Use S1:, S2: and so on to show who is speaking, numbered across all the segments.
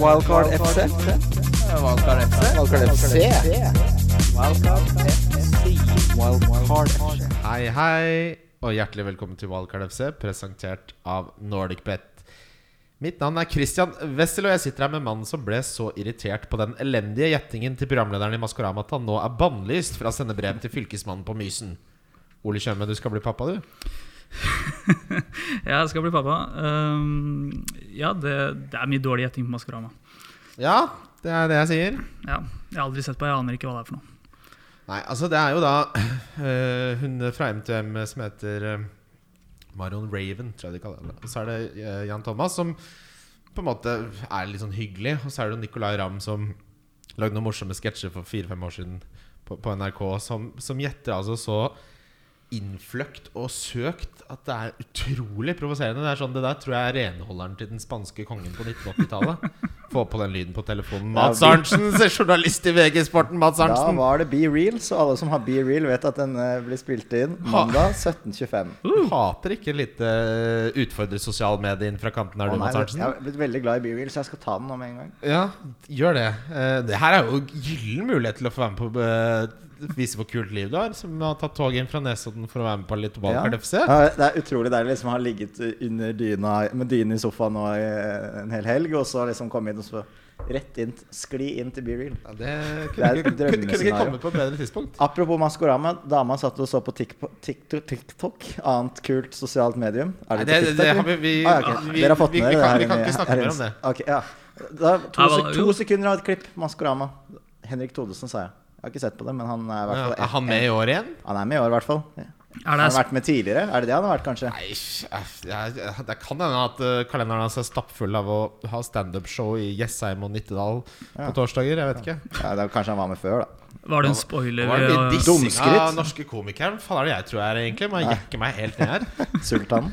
S1: Wildcard FC.
S2: Valgkart FC.
S1: Wildcard FC. Wildcard FC.
S3: Hei, hei, og hjertelig velkommen til Wildcard FC, presentert av NordicBet. Mitt navn er Christian Wessel, og jeg sitter her med mannen som ble så irritert på den elendige gjettingen til programlederen i Maskorama at han nå er bannlyst fra å sende brev til fylkesmannen på Mysen. Ole Tjøme, du skal bli pappa, du?
S4: Ja, jeg skal bli pappa. Ehm, ja, det, det er mye dårlig gjetting på Maskorama.
S3: Ja, det er det jeg sier.
S4: Ja, jeg har aldri sett på, jeg aner ikke hva det er for noe.
S3: Nei, altså det er jo da eh, hun fra MTM som heter eh, Marion Raven, tror jeg de kaller henne. Og så er det eh, Jan Thomas som på en måte er litt sånn hyggelig. Og så er det jo Nicolay Ramm som lagde noen morsomme sketsjer for fire-fem år siden på, på NRK, som, som gjetter altså så innfløkt og søkt at det er utrolig provoserende. Det er sånn, det der tror jeg er renholderen til den spanske kongen på 1980-tallet. Få på den lyden på telefonen. Mats Arntzen, journalist i VG Sporten. Mats
S1: Da
S3: Arntzen.
S1: var det Be Real, så alle som har Be Real, vet at den eh, blir spilt inn mandag 17.25.
S3: Du hater ikke lite utfordre sosialmedien fra kanten her,
S1: Å,
S3: du,
S1: nei, vet
S3: Mads
S1: du, Jeg
S3: Arntzen?
S1: har blitt veldig glad i Be Real, så jeg skal ta den nå med en gang.
S3: Ja, gjør det. Eh, Det her er jo gyllen mulighet til å få være med på eh, vise hvor kult liv du har, som har tatt toget inn fra Nesodden for å være med på litt Wildcard FC.
S1: Ja, Det er utrolig deilig liksom, å ha ligget under dyna med dyne i sofaen nå i eh, en hel helg, og så liksom komme inn og så rett inn, skli inn til Be Real.
S3: Ja,
S1: Det
S3: det
S1: er
S3: kunne,
S1: et
S3: ikke- kunne, kunne ikke
S1: drømmescenario.
S3: komme på et bedre tidspunkt.
S1: Apropos Maskorama. Dama satt og så på TikTok, TikTok, TikTok annet kult sosialt medium. Er
S3: Nei,
S1: på
S3: det- det-
S1: TikTok,
S3: det har
S1: eller?
S3: vi- vi-
S1: Ah, ja, ok.
S3: vi-
S1: Dere har fått
S3: vi-
S1: med
S3: vi
S1: dere
S3: kan-
S1: her
S3: vi kan
S1: inne-
S3: ikke snakke
S1: her
S3: mer
S1: inne.
S3: om det.
S1: Ok, ja. Da, to,
S4: Ja, vel,
S1: sek-
S4: jo.
S1: to sekunder av et klipp. Maskorama. Henrik Thodesen, sa jeg. Jeg har ikke sett på det, men han er, i hvert
S3: Ja,
S1: fall
S3: er han med i år igjen?
S1: han er med i år, i hvert fall.
S4: Er
S1: Han
S4: det,
S1: har vært med tidligere? Er det det han har vært, kanskje?
S3: Nei, æff, jeg- jeg- det kan hende at eh, kalenderen hans er stappfull av å ha standup-show i Jessheim og Nittedal på torsdager. Jeg vet ikke.
S1: Ja, det var, kanskje han var med før, da.
S4: var det en spoiler? eh,
S3: Hva er det
S4: vi-
S3: dissing av
S1: Dumskritt.
S3: eh, norske komikere? Hva faen er det jeg tror jeg er, egentlig? Må jeg jekke meg helt ned her?
S1: Sultanen.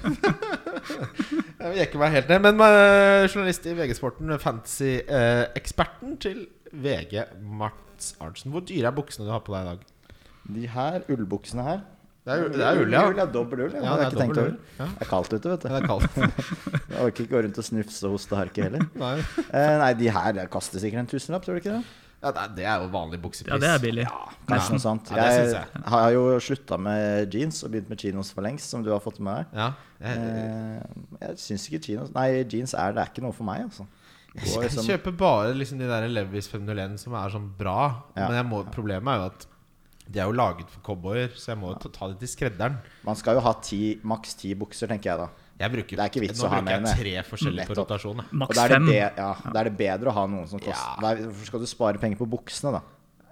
S3: Jeg vil jekke meg helt ned, men eh, journalist i VG-sporten, fantasy-eksperten eh, til VG, Mats Arntzen. Hvor dyre er buksene du har på deg i dag?
S1: De her ullbuksene her
S3: Det er, det er ull, ja.
S1: Ull er dobbel ull. Ja, det har jeg ikke tenkt
S3: dobbel
S1: over.
S3: ull. Ja,
S1: Det er kaldt ute, vet
S3: det
S1: du.
S3: er kaldt.
S1: Jeg orker ikke gå rundt og snufse og hoste og harke heller.
S3: Nei.
S1: Eh, nei, de her det koster sikkert en tusenlapp, tror du ikke det?
S3: Ja, det er- det er jo vanlig buksepris.
S4: Ja, det er billig.
S1: Kanskje noe sånt.
S3: Ja, det
S1: jeg,
S3: synes jeg.
S1: har jo slutta med jeans og begynt med chinos for lengst, som du har fått med deg.
S3: Ja, jeg,
S1: Eh, jeg syns ikke chinos Nei, jeans er det er ikke noe for meg, altså. Går
S3: jeg
S1: liksom-
S3: kjøper bare liksom de der Levis 501 som er sånn bra,
S1: Ja.
S3: men jeg må, problemet er jo at de er jo laget for cowboyer, så jeg må jo ta- ta det til skredderen.
S1: man skal jo ha ti, maks ti bukser, tenker jeg da.
S3: Jeg bruker,
S1: Det er ikke vits
S3: nå
S1: å ha
S3: bruker jeg
S1: mer enn
S3: tre forskjellige på
S1: Nettopp.
S3: rotasjon. jeg.
S1: Og
S4: Maks
S1: da er, det
S4: fem?
S1: be, ja, da er det bedre å ha noen som koster da er- Hvorfor skal du spare penger på buksene, da?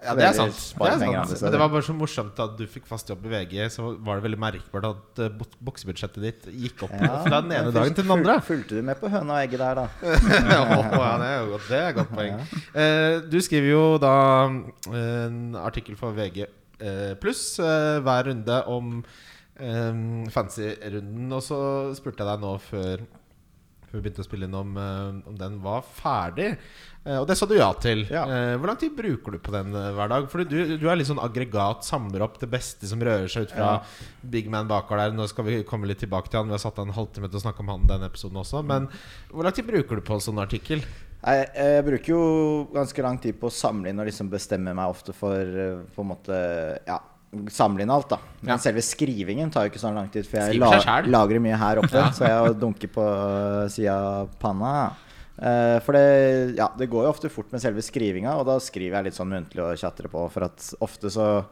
S3: Ja, det er
S1: Eller
S3: sant. Eh, Det,
S1: spare
S3: er
S1: penger andre
S3: sant. Men
S1: steder.
S3: det var bare så morsomt at du fikk fast jobb i VG, så var det veldig merkbart at eh, buk- buksebudsjettet ditt gikk opp
S1: Ja,
S3: fra den ene
S1: men
S3: dagen til den andre.
S1: ful- Fulgte du med på høna og egget der, da?
S3: ja, det er jo godt, det er et godt poeng. Eh, du skriver jo da mm, en artikkel for VG eh, pluss eh, hver runde om eh, fancy-runden, og så spurte jeg deg nå før før vi begynte å spille inn om, eh, om den var ferdig. Eh, og det sa du ja til.
S1: Ja.
S3: Eh, hvor lang tid bruker du på den eh, hver dag? Fordi du, du er litt sånn aggregat, samler opp det beste som rører seg ut fra Big Man bakover der. Nå skal vi komme litt tilbake til han. Vi har satt av en halvtime til å snakke om han i denne episoden også. Men hvor lang tid bruker du på en sånn artikkel?
S1: Nei, eh, jeg bruker jo ganske lang tid på å samle inn og liksom bestemme meg ofte for eh, på en måte, ja, samle inn alt. da Men
S3: Ja.
S1: selve skrivingen tar jo ikke sånn lang tid, for jeg
S3: Skriver
S1: la
S3: seg selv.
S1: lagrer mye her oppe. Så jeg dunker på sida av panna. Eh, For det, ja, det går jo ofte fort med selve skrivinga, og da skriver jeg litt sånn muntlig og tjatrer på. For at ofte så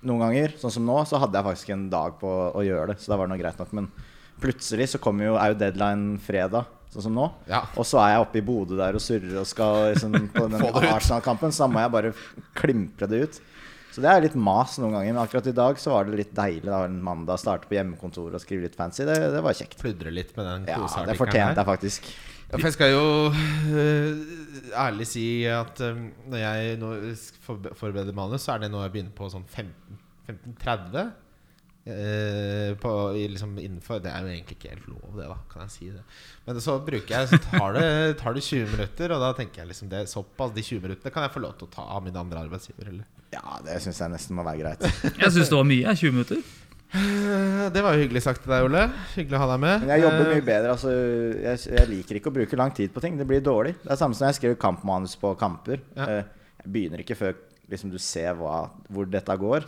S1: Noen ganger, sånn som nå, så hadde jeg faktisk en dag på å gjøre det. Så da var det noe greit nok. Men plutselig så kommer jo, er jo deadline fredag, sånn som nå.
S3: Ja.
S1: Og så er jeg oppe i Bodø der og surrer og skal liksom, på den
S3: Få det ut.
S1: Arsenal-kampen, så da må jeg bare klimpre det ut. Så det er litt mas noen ganger, men akkurat i dag så var det litt deilig. Da, en mandag Starte på hjemmekontoret og skrive litt fancy. Det, det var kjekt.
S3: Pludre litt med den
S1: Ja,
S3: koseartikkelen
S1: det fortjente jeg faktisk.
S3: Ja, for jeg skal jo øh, ærlig si at øh, når jeg nå sk- forbe- forbereder manus, så er det nå jeg begynner på sånn 15 15.30. eh, på, i liksom innenfor Det er jo egentlig ikke helt lov, det, da. Kan jeg si det. Men så bruker jeg Så tar det, tar det 20 minutter, og da tenker jeg liksom det er såpass. De 20 minuttene kan jeg få lov til å ta av min andre arbeidsgiver, eller?
S1: Ja, det syns jeg nesten må være greit.
S4: Jeg syns det var mye, jeg, 20 minutter.
S3: Eh, Det var jo hyggelig sagt til deg, Ole. Hyggelig å ha deg med.
S1: Men jeg jobber
S3: Eh,
S1: mye bedre. Altså, jeg, jeg liker ikke å bruke lang tid på ting. Det blir dårlig. Det er samme som når jeg skriver kampmanus på kamper.
S3: Ja.
S1: Eh, Jeg begynner ikke før liksom, du ser hva, hvor dette går.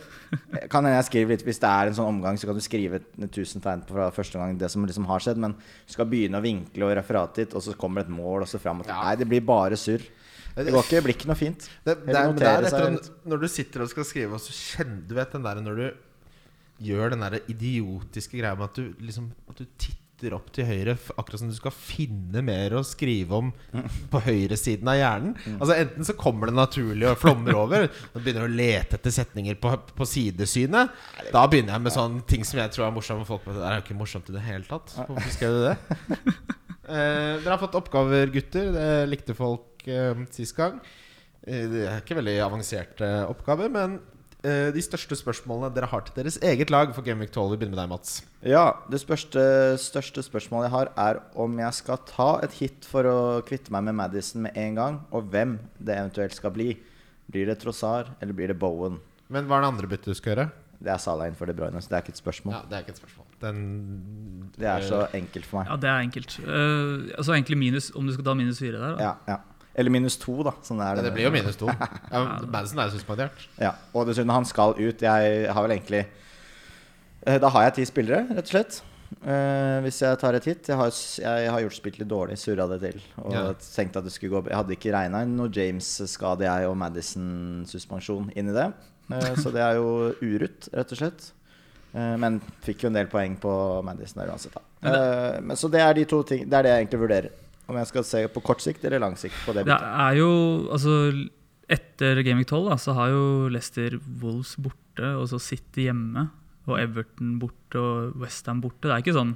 S1: Eh, Kan hende jeg skriver litt Hvis det er en sånn omgang, så kan du skrive et- tusen tegn på fra første gang det som liksom har skjedd, men du skal begynne å vinkle og referate dit, og så kommer det et mål, og så fram og til
S3: Ja.
S1: Nei, det blir bare surr. Det går ikke, det blir ikke noe fint.
S3: Det, det,
S1: Eller
S3: er, men det er
S1: notere seg
S3: etter,
S1: litt.
S3: en- når du sitter og skal skrive, og så kjenner du vet, den der Når du gjør den der idiotiske greia med at du, liksom, at du titter opp til høyre, f- akkurat som du skal finne mer å skrive om på høyresiden av hjernen.
S1: Mm.
S3: Altså Enten så kommer det naturlig og flommer over, og du begynner å lete etter setninger på, på sidesynet. Da begynner jeg med sånne ting som jeg tror er morsomme. og Folk bare, det er jo ikke morsomt i det hele tatt. Hvorfor skrev du det? Eh, dere har fått oppgaver, gutter. Det likte folk eh, sist gang. Eh, det er ikke veldig avanserte oppgaver, men eh, de største spørsmålene dere har til deres eget lag for Game Week 12 Vi begynner med deg, Mats.
S1: Ja, det største, største spørsmålet jeg har, er om jeg skal ta et hit for å kvitte meg med Madison med en gang, og hvem det eventuelt skal bli. Blir det Trossard, eller blir det Bowen?
S3: Men hva er det andre byttet du skal gjøre?
S1: Det er Salah innenfor De Bruyne, så det er ikke et spørsmål.
S3: Ja, Det er ikke et spørsmål. Den
S1: Det er så enkelt for meg.
S4: Ja, det er enkelt. Eh, altså egentlig minus om du skal ta minus fire der. Da.
S1: Ja, ja. Eller minus to, da. Sånn er
S3: Ja,
S1: det.
S3: Det blir jo minus to. Ja, Madison er jo suspendert.
S1: Ja, Og dessuten, han skal ut. Jeg har vel egentlig Eh, Da har jeg ti spillere, rett og slett. Eh, hvis jeg tar et hit Jeg har, s- jeg har gjort spilt litt dårlig, surra det til. Og
S3: Ja.
S1: tenkte at det skulle gå b- Jeg hadde ikke regna inn noe James-skade, jeg, og Madison-suspensjon inn i det. Eh, så det er jo urutt, rett og slett. Eh, men fikk jo en del poeng på Madison der uansett, da. Eh, men, så det er de to ting Det er det jeg egentlig vurderer. Om jeg skal se på kort sikt eller lang sikt på det.
S4: Det
S1: byttet.
S4: er jo Altså, etter Game Week 12 da, så har jo Leicester Wolves borte, og så City hjemme, og Everton borte, og Westham borte. Det er ikke sånn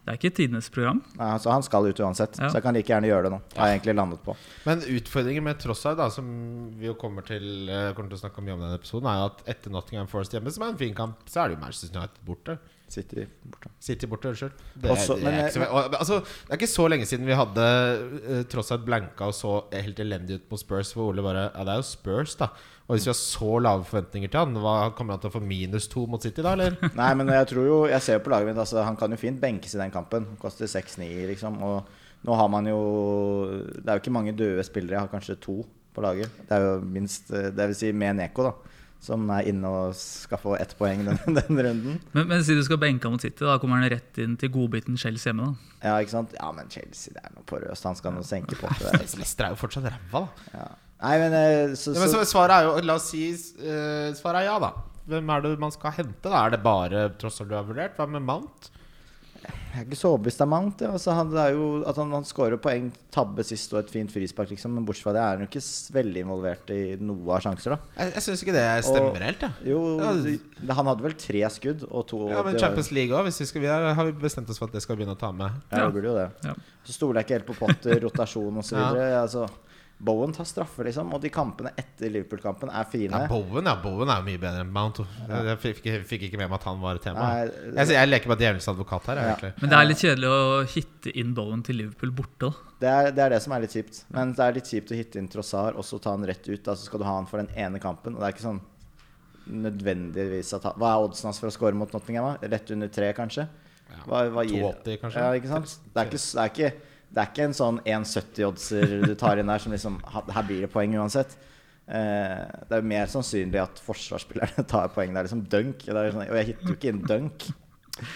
S4: Det er ikke tidenes program.
S1: Nei, så han skal ut uansett.
S4: Ja.
S1: Så jeg kan like gjerne gjøre det nå. Har jeg egentlig landet på.
S3: Men utfordringen med Trossard, da, som vi jo kommer til eh, Kommer til å snakke om mye om denne episoden, er jo at etter Nottingham Forest hjemme, som er en fin kamp, så er det jo Manchester United borte.
S1: Sitter borte.
S3: City borte, unnskyld. Det,
S1: Også-
S3: det,
S1: men-
S3: er ikke så, og, altså, det er ikke så lenge siden vi hadde eh, tross alt blanka og så helt elendig ut på Spurs, hvor Ole bare Ja, det er jo Spurs, da. Og hvis vi har så lave forventninger til han, hva, kommer han til å få minus to mot City da, eller?
S1: Nei, men jeg tror jo Jeg ser jo på laget mitt. Altså, han kan jo fint benkes i den kampen. Koster 6-9, liksom. Og nå har man jo Det er jo ikke mange døde spillere. Jeg har kanskje to på laget. Det er jo minst eh, Det vil si med Neko, da. Som er inne og skal få ett poeng den, den runden.
S4: Men, men si du skal benke ham mot City, da kommer han rett inn til godbiten Chelsea hjemme. da
S1: Ja, ikke sant? Ja, men Chelsea, det er noe porøst. Han skal nå senke på det. der.
S3: Leicester er jo fortsatt ræva, da.
S1: Ja. Nei, men eh, så,
S3: Ja, men
S1: så
S3: så svaret er jo La oss si eh, svaret er ja, da. Hvem er det man skal hente? da? Er det bare tross alt du har vurdert? Hva med Mount?
S1: Jeg er ikke så overbevist av Mount. Ja. Altså, han, det er jo at han, han scorer poeng, tabbe sist og et fint frispark, liksom. Men bortsett fra det er han jo ikke s- veldig involvert i noe av sjanser, da.
S3: Jeg, jeg syns ikke det
S1: Og-
S3: stemmer helt, jeg.
S1: Jo,
S3: Ja,
S1: det, han hadde vel tre skudd og to
S3: Ja, men
S1: det var-
S3: Champions League òg. Vi har har vi bestemt oss for at det skal vi begynne å ta med.
S1: Ja, det burde jo det.
S4: Ja.
S1: Så stoler jeg ikke helt på Potter, rotasjon osv. videre Altså, Bowen tar straffer, liksom. Og de kampene etter Liverpool-kampen er
S3: Ja,
S1: fine.
S3: Bowen, ja, Bowen er jo mye bedre enn Mount. Jeg fikk, jeg fikk ikke med meg at han var et tema.
S1: Nei, det-
S3: jeg, jeg leker bare djevelens advokat her. jeg,
S1: Ja.
S3: egentlig.
S4: Men det er litt kjedelig å hitte inn Bowen til Liverpool borte. da
S1: Det er, det er det som er litt kjipt. Men det er litt kjipt å hitte inn Trossar og så ta han rett ut. Da så skal du ha han for den ene kampen. Og det er ikke sånn nødvendigvis at han, Hva er oddsen hans for å score mot Nottingham? da? Rett under tre, kanskje?
S3: Ja.
S1: Hva, hva gir
S3: 82, kanskje?
S1: Ja, ikke sant? Det er ikke, det er ikke, det er ikke en sånn 1,70-oddser du tar inn der som liksom ha- Her blir det poeng uansett. Eh, det er jo mer sannsynlig at forsvarsspillerne tar poeng der, liksom dunk. Det er jo sånn, og jeg hitter jo ikke inn dunk.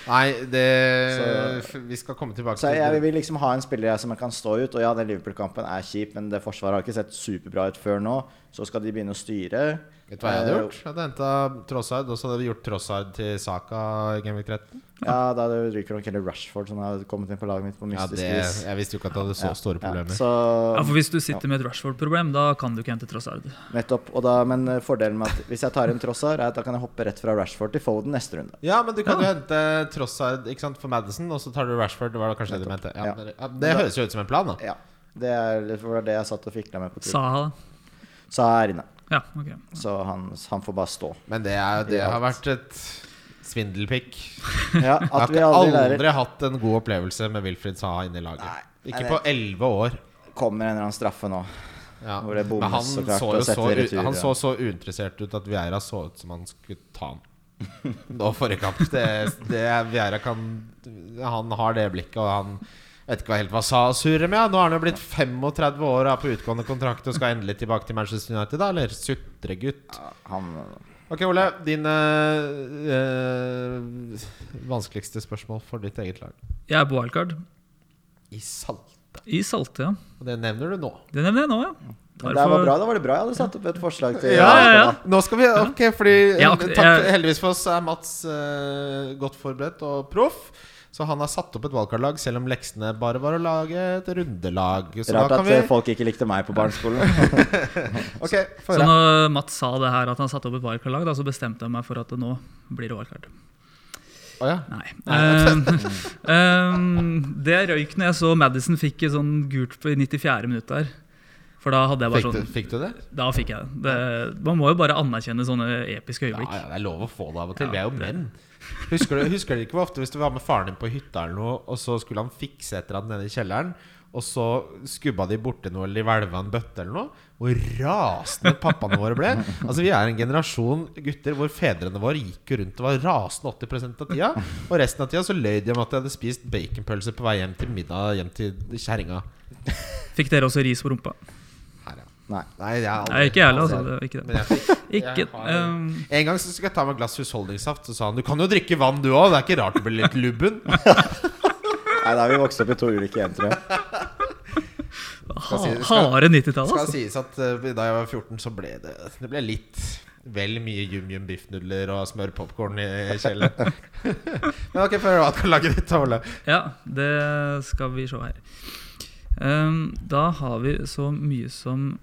S3: Nei, det Vi skal komme tilbake
S1: Så
S3: til
S1: jeg, jeg vil liksom ha en spiller jeg som jeg kan stå ut. Og ja, den Liverpool-kampen er kjip, men det forsvaret har ikke sett superbra ut før nå. Så skal de begynne å styre.
S3: Vet du hva jeg hadde
S1: Eh,
S3: gjort? Jeg hadde henta Trossard, og så hadde vi gjort Trossard til Saka i Gameweek 13.
S1: Ja, da ryker nok heller Rashford, som har kommet inn på laget mitt på
S3: Ja,
S1: mystisk
S3: det,
S1: vis.
S3: jeg visste jo ikke at det hadde så store
S1: Ja,
S3: problemer.
S1: så
S4: Ja, For hvis du sitter med et Rashford-problem, da kan du ikke hente Trossard.
S1: Nettopp. Og da, men eh, fordelen med at hvis jeg tar en Trossard, er at da kan jeg hoppe rett fra Rashford til Foden neste runde.
S3: Ja, men du kan jo hente Trossard ikke sant, for Madison, og så tar du Rashford. Det var da kanskje det du mente. Ja,
S1: Ja.
S3: men- ja, det høres jo ut som en plan, da.
S1: Ja. Det er det var det jeg satt og fikla med på tur.
S4: Saha,
S1: Sa er inne.
S4: da. Ja, ok.
S1: Så han, han får bare stå.
S3: Men det, er, det
S1: Ja.
S3: har vært et svindelpick.
S1: Ja, at vi aldri lærer.
S3: hatt en god opplevelse med Wilfried Saha inne i laget.
S1: Nei,
S3: ikke
S1: nei,
S3: på elleve år.
S1: Kommer en eller annen straffe nå.
S3: Ja.
S1: Hvor det bommes
S3: Men han
S1: så klart,
S3: så,
S1: og
S3: jo
S1: setter
S3: så,
S1: i retur,
S3: u- han
S1: ja.
S3: så så uinteressert ut at Vieira så ut som han skulle ta han. nå forrige kamp. Det, det er- Vieira kan Han har det blikket, og han vet ikke hva helt hva sa surrer med. Nå er han jo blitt 35 år og er på utgående kontrakt og skal endelig tilbake til Manchester United, da? Eller sutregutt?
S1: Han
S3: Ok, Ole. Din eh, eh, vanskeligste spørsmål for ditt eget lag.
S4: Jeg er på wildcard.
S3: I salt.
S4: I salte, ja.
S3: Og det nevner du nå.
S4: Det nevner jeg nå, ja. Tar
S1: Men det
S4: for-
S1: var bra, da var det bra jeg hadde satt opp et forslag til.
S3: Ja,
S4: ja, ja.
S3: Nå skal vi Ok, fordi eh,
S4: Ja, ok,
S3: takk,
S4: jeg-
S3: Heldigvis for oss er Mats eh, godt forberedt og proff. Så han har satt opp et wildcard-lag, selv om leksene bare var å lage et rundelag. Så
S1: Rart
S3: da
S1: at
S3: kan vi
S1: eh, folk ikke likte meg på barneskolen.
S3: Ok,
S4: Så
S3: få høre.
S4: når Mats sa det her at han satte opp et wildcard-lag, da, så bestemte jeg meg for at det nå blir det wildcard.
S3: Å, ja.
S4: Nei. Ehm, ehm, det røyk når jeg så Madison fikk et sånn gult på i 94. minutt der. For da hadde jeg bare
S3: fikk,
S4: sånn
S3: du, fikk du det?
S4: Da fikk jeg det. det. Man må jo bare anerkjenne sånne episke
S3: Ja,
S4: øyeblikk.
S3: ja, det er lov å få det av og
S4: Ja,
S3: til. Vi er jo menn. Husker du, husker du ikke hvor ofte hvis du var med faren din på hytta, eller noe og så skulle han fikse et eller annet nede i kjelleren, og så skubba de borti noe eller de hvelva en bøtte eller noe? Hvor rasende pappaene våre ble. Altså Vi er en generasjon gutter hvor fedrene våre gikk jo rundt og var rasende 80 av tida. Og resten av tida så løy de om at de hadde spist baconpølser på vei hjem til middag hjem til kjerringa.
S4: Fikk dere også ris på rumpa?
S3: Her, ja.
S1: Nei.
S3: Nei, det er aldri-
S4: Nei, ikke jeg heller. Altså, det var ikke det.
S3: Men jeg fikk
S4: Ikke,
S3: jeg har-
S4: ehm,
S3: En gang så skulle jeg ta meg et glass husholdningssaft, så sa han du kan jo drikke vann du òg, det er ikke rart du blir litt lubben.
S1: Nei, da har vi vokst opp i to ulike hjem, tror jeg.
S3: Skal si- skal-
S4: harde
S3: Det
S4: 90-tallet,
S3: skal
S4: altså.
S3: sies at eh, da jeg var 14, så ble det Det ble litt vel mye yum-yum biffnudler og smørpopkorn i i kjelleren. Men ok, før hva kan lage ditt, Ole?
S4: Ja, det skal vi se her. Ehm, da har vi så mye som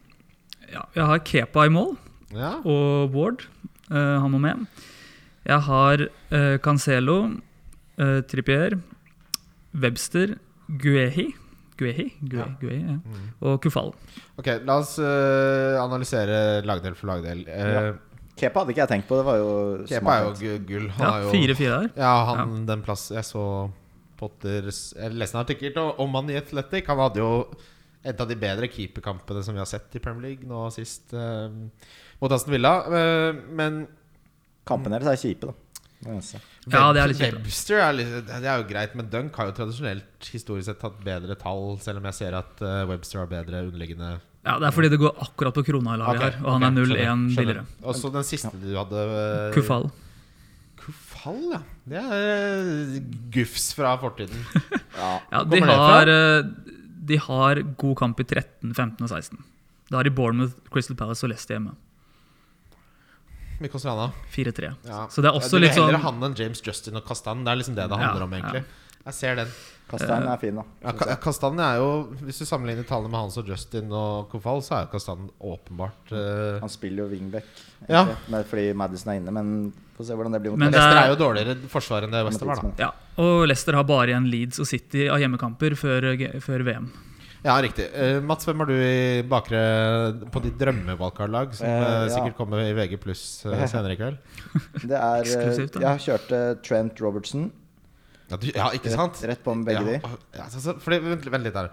S4: Ja, jeg har Kepa i mål.
S3: Ja.
S4: og Ward. eh, han må med. Jeg har eh, Cancelo, eh, Trippier, Webster, Guehi Guehi? Gue,
S3: Ja. Mm.
S4: Guehi ja. Og Kufal.
S3: Ok, la oss eh, analysere lagdel for lagdel. Eh,
S1: Kepa hadde ikke jeg tenkt på. Det var jo
S3: Kepa er jo
S1: smart.
S3: gu- gull. Han
S4: Ja,
S3: er jo-
S4: Fire-fire der.
S3: Ja, han den plass Jeg så Potter Jeg leste en artikkel til- om han i Athletic. Han hadde jo et av de bedre keeperkampene som vi har sett i Premier League nå sist, eh, mot Aston Villa. Eh, men
S1: Kampene deres er kjipe, da. Det eneste.
S4: Ja, det er litt kjipt, da.
S3: Webster er, litt, det er jo greit, men Dunk har jo tradisjonelt historisk sett hatt bedre tall, selv om jeg ser at eh, Webster har bedre underliggende
S4: Ja, Det er fordi det går akkurat på krona i laget
S3: Ok,
S4: her, og han
S3: ok,
S4: er
S3: skjønner,
S4: 0-1
S3: skjønner.
S4: billigere.
S3: Og så den siste du hadde eh,
S4: Kufal.
S3: Kufal, ja. Det er eh, gufs fra fortiden.
S1: Ja.
S4: Ja, de
S3: kommer det
S4: har, eh, de har god kamp i 13, 15 og 16. Da har de Bournemouth, Crystal Palace og Leicester hjemme.
S3: Mye koster han da?
S4: 4-3.
S3: Ja.
S4: Så det er
S3: Du
S4: også
S3: vil
S4: litt sånn
S3: heller han enn James Justin og Kastan. Det er liksom det det
S4: Ja,
S3: handler om, egentlig. Jeg ser den.
S1: Kastein
S4: Eh.
S1: er fin, da.
S3: Ja, Ka- Kastan er jo Hvis du sammenligner tallene med Hans og Justin og Kofal, så er jo Kastan åpenbart eh,
S1: Han spiller jo wingback
S3: Ja.
S1: egentlig, men fordi Madison er inne, men får se hvordan det blir mot
S4: Men det
S3: Leicester
S4: er-
S3: er jo dårligere forsvar enn det Wester var, da.
S1: Madison.
S4: Ja, Og Leicester har bare igjen Leeds og City av hjemmekamper før, eh, før VM.
S3: Ja, riktig. Eh, Mats, hvem har du i bakre på ditt drømmevalgkartlag, som
S1: Eh,
S3: eh,
S1: ja.
S3: sikkert kommer i VG pluss senere i kveld?
S1: Det er eh,
S4: Eksklusivt, da.
S1: Jeg kjørte Trent Robertson
S3: Ja, du, ja ikke sant?
S1: rett, rett på med begge
S3: ja, ja, altså, så- fordi, vent, vent litt her.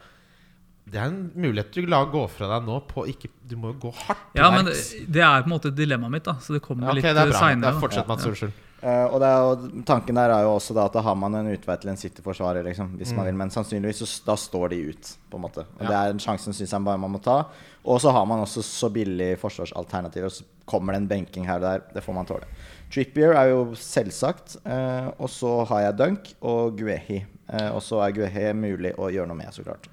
S3: Det er en mulighet du lar gå fra deg nå på ikke Du må jo gå hardt til
S4: Ja, men
S3: verks.
S4: det er på en måte dilemmaet mitt, da, så det
S3: Ja,
S4: kommer
S3: ok,
S4: litt eh,
S3: det er bra. Det
S4: seinere.
S3: er fortsatt Mats Solskjell.
S1: de. Eh, og det er jo, tanken der er jo også da at da har man en utvei til en City-forsvarer, liksom, hvis man vil. Men sannsynligvis så s- da står de ut, på en måte. Og
S3: Ja.
S1: Det er en sjansen syns jeg bare man må ta. Og så har man også så billig forsvarsalternativ, og så kommer det en benking her og der. Det får man tåle. Trippier er jo selvsagt. eh, og så har jeg Dunk og Guehi. Eh, og så er Guehi mulig å gjøre noe med, så klart.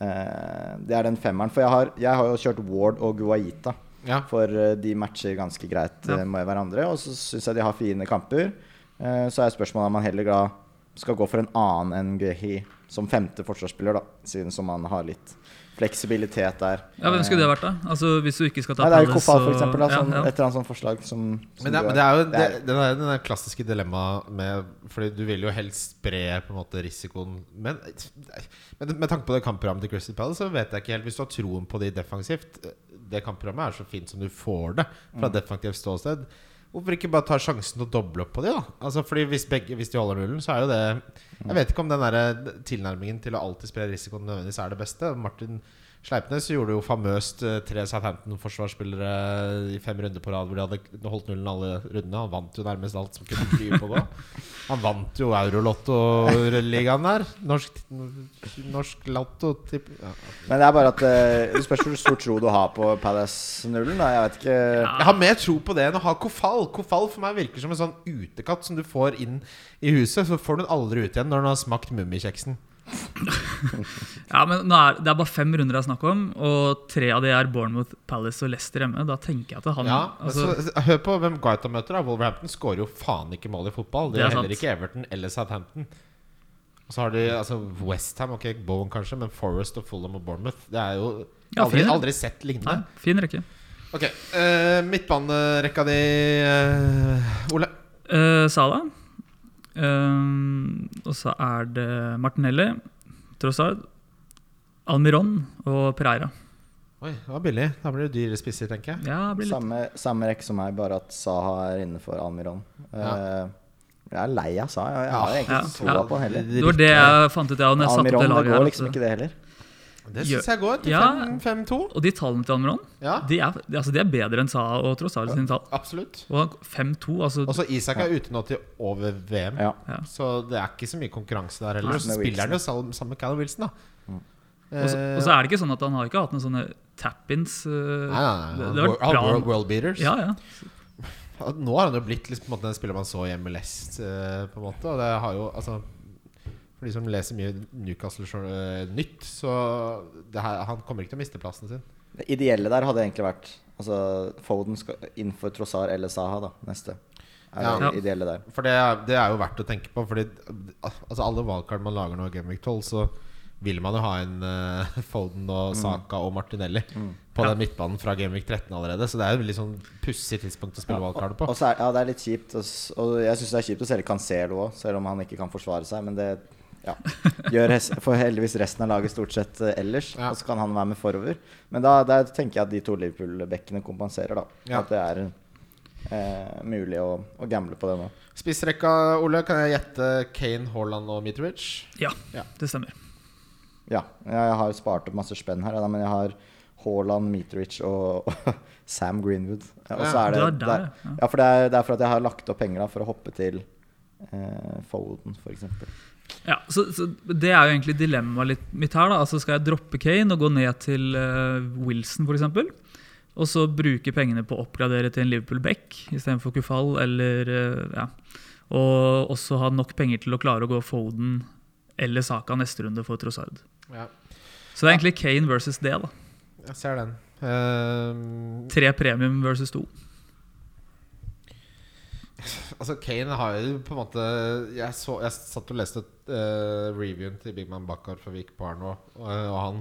S1: Eh, det er den femmeren. For jeg har, jeg har jo kjørt Ward og Guaita.
S3: Ja.
S1: For eh, de matcher ganske greit
S4: Ja.
S1: eh, med hverandre. Og så syns jeg de har fine kamper. Eh, Så er spørsmålet om han heller da skal gå for en annen enn Guehi som femte forsvarsspiller, da. Siden som han har litt fleksibilitet der.
S4: Ja, Hvem skulle det vært, da? Altså, Hvis du ikke skal ta
S1: Nei, det er jo
S4: Palace
S1: Kofal,
S4: og-
S1: for eksempel. Da, sånn, Et
S4: ja, ja.
S1: eller annet sånt forslag som, som
S3: Men det,
S1: du
S3: men
S1: har.
S3: det er jo det,
S1: Det er-
S3: den, der, den der klassiske dilemmaet med Fordi du vil jo helst spre på en måte risikoen Men med, med tanke på det kampprogrammet til Crystal Palace, så vet jeg ikke helt Hvis du har troen på de defensivt Det kampprogrammet er så fint som du får det fra defensivt ståsted. Hvorfor ikke bare ta sjansen til å doble opp på de, da? Altså, fordi hvis, begge, hvis de holder nullen, så er jo det eh, Jeg vet ikke om den der tilnærmingen til å alltid spre risikoen nødvendigvis er det beste. Martin Sleipnes gjorde jo famøst eh, tre Southampton-forsvarsspillere i fem runder på rad hvor de hadde holdt nullen alle rundene. Han vant jo nærmest alt som kunne fly på da. Han vant jo Eurolotto-ligaen der. Norsk, norsk Lotto tipp... Ja.
S1: Men det er bare at eh, det spørs hvor stor tro du har på Palace-nullen. da. Jeg vet ikke
S3: Jeg har mer tro på det enn å ha Kofal. Kofal for meg virker som en sånn utekatt som du får inn i huset, så får du den aldri ut igjen når den har smakt mummikjeksen.
S4: Ja, men nå er, Det er bare fem runder det er snakk om, og tre av de er Bournemouth, Palace og Leicester hjemme. Da tenker jeg at han
S3: Ja,
S4: altså,
S3: altså, Hør på hvem Guita møter. da Wolverhampton skårer jo faen ikke mål i fotball. Det
S4: Det er
S3: gjør heller
S4: sant.
S3: ikke Everton eller Southampton. Og så har de altså Westham, ok, Bowen kanskje, men Forest og Fulham og Bournemouth. Det er jo
S4: Ja,
S3: aldri,
S4: fin.
S3: aldri sett
S4: Nei,
S3: lignende.
S4: fin rekke.
S3: Ok, eh, Midtbanerekka di, eh, Ole.
S4: Uh, Sala. Ehm, og så er det Martinelli, Trossard, Almiron og Pereira.
S3: Oi, det var billig. Da blir det dyre spisser, tenker jeg.
S4: Ja, det blir litt
S1: samme, samme rekke som meg, bare at Saha er innenfor Almiron. Eh, Jeg er lei av Saha. Jeg har egentlig ikke
S4: Ja.
S1: troa på han heller.
S4: Det var det jeg fant ut jeg, når jeg satte opp det
S1: Almiron, det går
S4: laget. her, altså.
S1: liksom
S4: at-
S1: ikke det heller.
S3: Det syns jeg går. Til
S4: Ja.
S3: fem- 5-2.
S4: Og de tallene til Almiron
S3: Ja,
S4: de er, de- altså, de er bedre enn Saha og Trossard sine tall.
S3: absolutt.
S4: Og han- 5-2, altså
S3: Og så Isak er ute nå til over VM.
S1: Ja.
S4: Ja.
S3: Så det er ikke så mye konkurranse der heller.
S1: Nei.
S3: Så spiller han jo sal- sammen med Callum Wilson, da. Eh,
S4: Og så, og så er det ikke sånn at han har ikke hatt noen sånne tap-ins. eh,
S3: Nei, nei, nei.
S4: det- det har vært
S3: All
S4: bra.
S3: world, world beaters.
S4: ja, ja.
S3: At Nå har han jo blitt liksom, på en måte, den spiller man så hjemme lest, eh, på en måte. Og det har jo, altså For de som leser mye Newcastle eh, nytt, så det her, Han kommer ikke til å miste plassen sin.
S1: Det ideelle der hadde egentlig vært altså, Foden skal inn for Trossar eller Saha, da. Neste. Er
S3: Ja.
S1: det ideelle der.
S3: For det er, det er jo verdt å tenke på. Fordi altså, alle valgkart man lager nå i Game Week 12, så vil man jo ha en eh, Foden og Saka og Martinelli på
S4: Ja.
S3: den midtbanen fra Game Week 13 allerede. Så det er jo et litt sånn pussig tidspunkt å spille valgkart på.
S1: Og så er, ja, det er litt kjipt. Og, s- og jeg syns det er kjipt å selge Cancelo òg, selv om han ikke kan forsvare seg. Men det ja, gjør hes- for heldigvis resten av laget stort sett eh, ellers.
S3: Ja.
S1: Og så kan han være med forover. Men da der tenker jeg at de to Liverpool-bekkene kompenserer, da.
S3: Ja.
S1: At det er eh, mulig å, å gamble på det nå.
S3: Spissrekka, Ole, kan jeg gjette Kane, Haaland og Mitrovic?
S4: ja,
S3: Ja.
S4: det stemmer.
S1: Ja, jeg har spart opp masse spenn her, da, men jeg har Haaland, Mitrovic og Sam Greenwood. Ja, Og så
S3: Ja,
S1: er det,
S4: du er der,
S1: det
S4: ja.
S1: er- ja, for det er, det er for at jeg har lagt opp penger da, for å hoppe til eh, Foden, for eksempel.
S4: Ja, så, så Det er jo egentlig dilemmaet litt mitt her. da Altså Skal jeg droppe Kane og gå ned til eh, Wilson f.eks.? Og så bruke pengene på å oppgradere til en Liverpool Beck istedenfor Kufal? Eller, eh, ja. Og også ha nok penger til å klare å gå Foden eller Saka neste runde for Trossard.
S3: Ja,
S4: Så det er egentlig Kane versus det. da
S3: jeg ser den. Ehm,
S4: Tre premium versus to.
S3: altså Kane har jo på en måte Jeg, så, jeg satt og leste eh, reviewen til Big Man Bakkar for Vik Barn nå, og, og han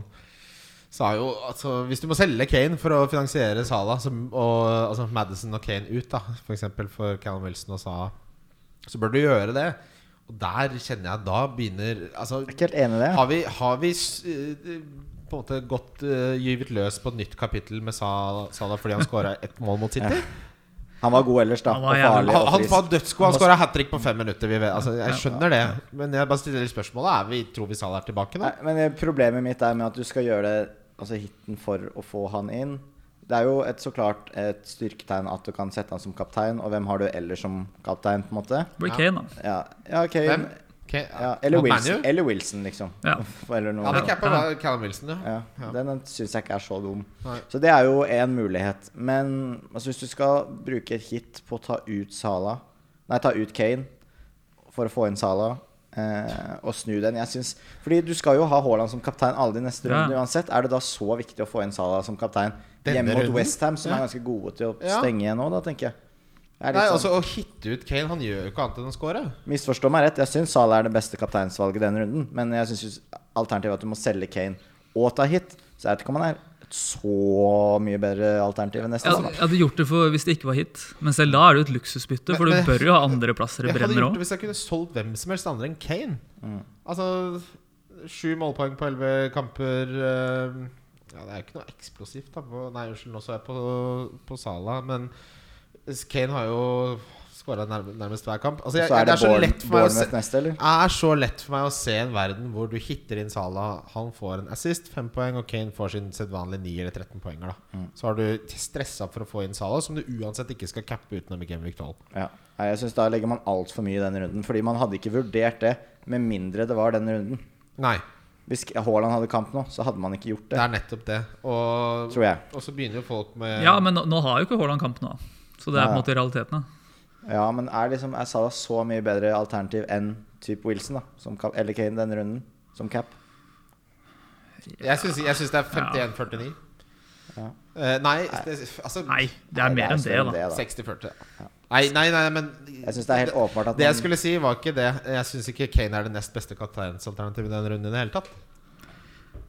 S3: sa jo altså Hvis du må selge Kane for å finansiere Sala så, og altså Madison og Kane ut, da f.eks. For, eksempel for Callum Wilson og Sala, så bør du gjøre det. Og der kjenner jeg da begynner Altså
S1: Jeg er ikke helt enig i det.
S3: Har vi, har vi s- eh, på en måte gått eh, gyvet løs på et nytt kapittel med Sa- Salah fordi han skåra ett mål mot City?
S1: Han var god ellers, da.
S4: Han
S1: Og
S4: var jævlig
S1: farlig
S3: Han,
S1: og
S3: han
S1: frisk.
S3: var dødsgod. Han skåra hat trick på fem minutter. Vi vet. Altså, jeg skjønner det. Men jeg bare stiller spørsmålet er vi, tror vi Salah er tilbake nå.
S1: Nei, men eh, problemet mitt er med at du skal gjøre det Altså hiten for å få han inn. Det er jo et, så klart et styrketegn at du kan sette han som kaptein, og hvem har du ellers som kaptein, på en måte?
S4: Det blir
S3: Ja.
S4: Kane, da.
S1: Ja, ja ok.
S3: Hvem? Okay.
S1: Ja, eller,
S3: Manu?
S1: Wilson, eller Wilson, liksom.
S4: Ja.
S1: Eller
S3: Ja,
S1: noe.
S3: det capper var Callum Wilson, ja.
S1: Ja, den syns jeg ikke er så dum.
S3: Nei.
S1: Så det er jo én mulighet. Men altså, hvis du skal bruke et hit på å ta ut Sala Nei, ta ut Kane for å få inn Sala eh, og snu den jeg synes, Fordi du skal jo ha Haaland som kaptein alle de neste
S4: Ja.
S1: rundene uansett. Er det da så viktig å få inn Sala som kaptein
S3: Denne
S1: hjemme mot
S3: runden?
S1: Westham, som
S3: Ja.
S1: er ganske gode til å
S3: Ja.
S1: stenge igjen nå, da, tenker jeg. Det er
S3: Nei,
S1: litt
S3: altså
S1: sånn,
S3: Å hitte ut Kane Han gjør jo ikke annet enn å score.
S1: misforstå meg rett, jeg syns Sala er det beste kapteinsvalget denne runden, men jeg syns alternativet at du må selge Kane og ta hit, så jeg vet ikke om han er et så mye bedre alternativ enn
S4: Jeg
S1: neste.
S4: hadde, jeg hadde gjort det for, hvis det ikke var hit, men selv da er det jo et luksusbytte. For
S3: Men-
S4: du
S3: men-
S4: bør jo ha andreplasser i
S3: Jeg hadde
S4: brenner
S3: gjort det
S4: òg.
S3: hvis jeg kunne solgt hvem som helst andre enn Kane.
S1: Mm.
S3: Altså Sju målpoeng på elleve kamper. eh, Ja, det er jo ikke noe eksplosivt. Da. på- Nei, unnskyld, nå så jeg på, på Sala, men Kane har jo Skåra nærmest hver kamp.
S1: Så
S3: Altså, jeg,
S1: er det,
S3: det er så
S1: Bourne-
S3: lett for meg å se
S1: Bournemouth neste, eller?
S3: det er så lett for meg å se en verden hvor du hitter inn Salah, han får en assist, fem poeng, og Kane får sin sedvanlige 9 eller 13 poenger. Da.
S1: Mm.
S3: Så har du stressa for å få inn Salah, som du uansett ikke skal cappe utenom i Game Week 12.
S1: Ja. Nei, jeg syns da legger man altfor mye i den runden. Fordi man hadde ikke vurdert det med mindre det var den runden.
S3: Nei,
S1: Hvis Haaland hadde kamp nå, så hadde man ikke gjort
S3: det
S1: det.
S3: er nettopp det. Og,
S1: Tror jeg.
S3: og så begynner jo folk med
S4: Ja, men nå, nå har jo ikke Haaland kamp nå. Så det er på en
S1: Nei.
S4: måte realiteten. da.
S1: Ja, men er, liksom, er Salah så mye bedre alternativ enn type Wilson, da? Som, cap- eller Kane denne runden, som cap?
S3: Jeg syns jeg syns det er 51-49.
S1: Ja.
S3: Eh, nei, det, altså
S4: Nei, det er mer enn det,
S1: større
S4: da.
S1: enn
S3: 60-40. Nei, nei, nei, men
S1: Jeg syns det er helt åpenbart at
S3: Det jeg
S1: man-
S3: skulle si, var ikke det. Jeg syns ikke Kane er det nest beste kapteinsalternativet i den runden i det hele tatt.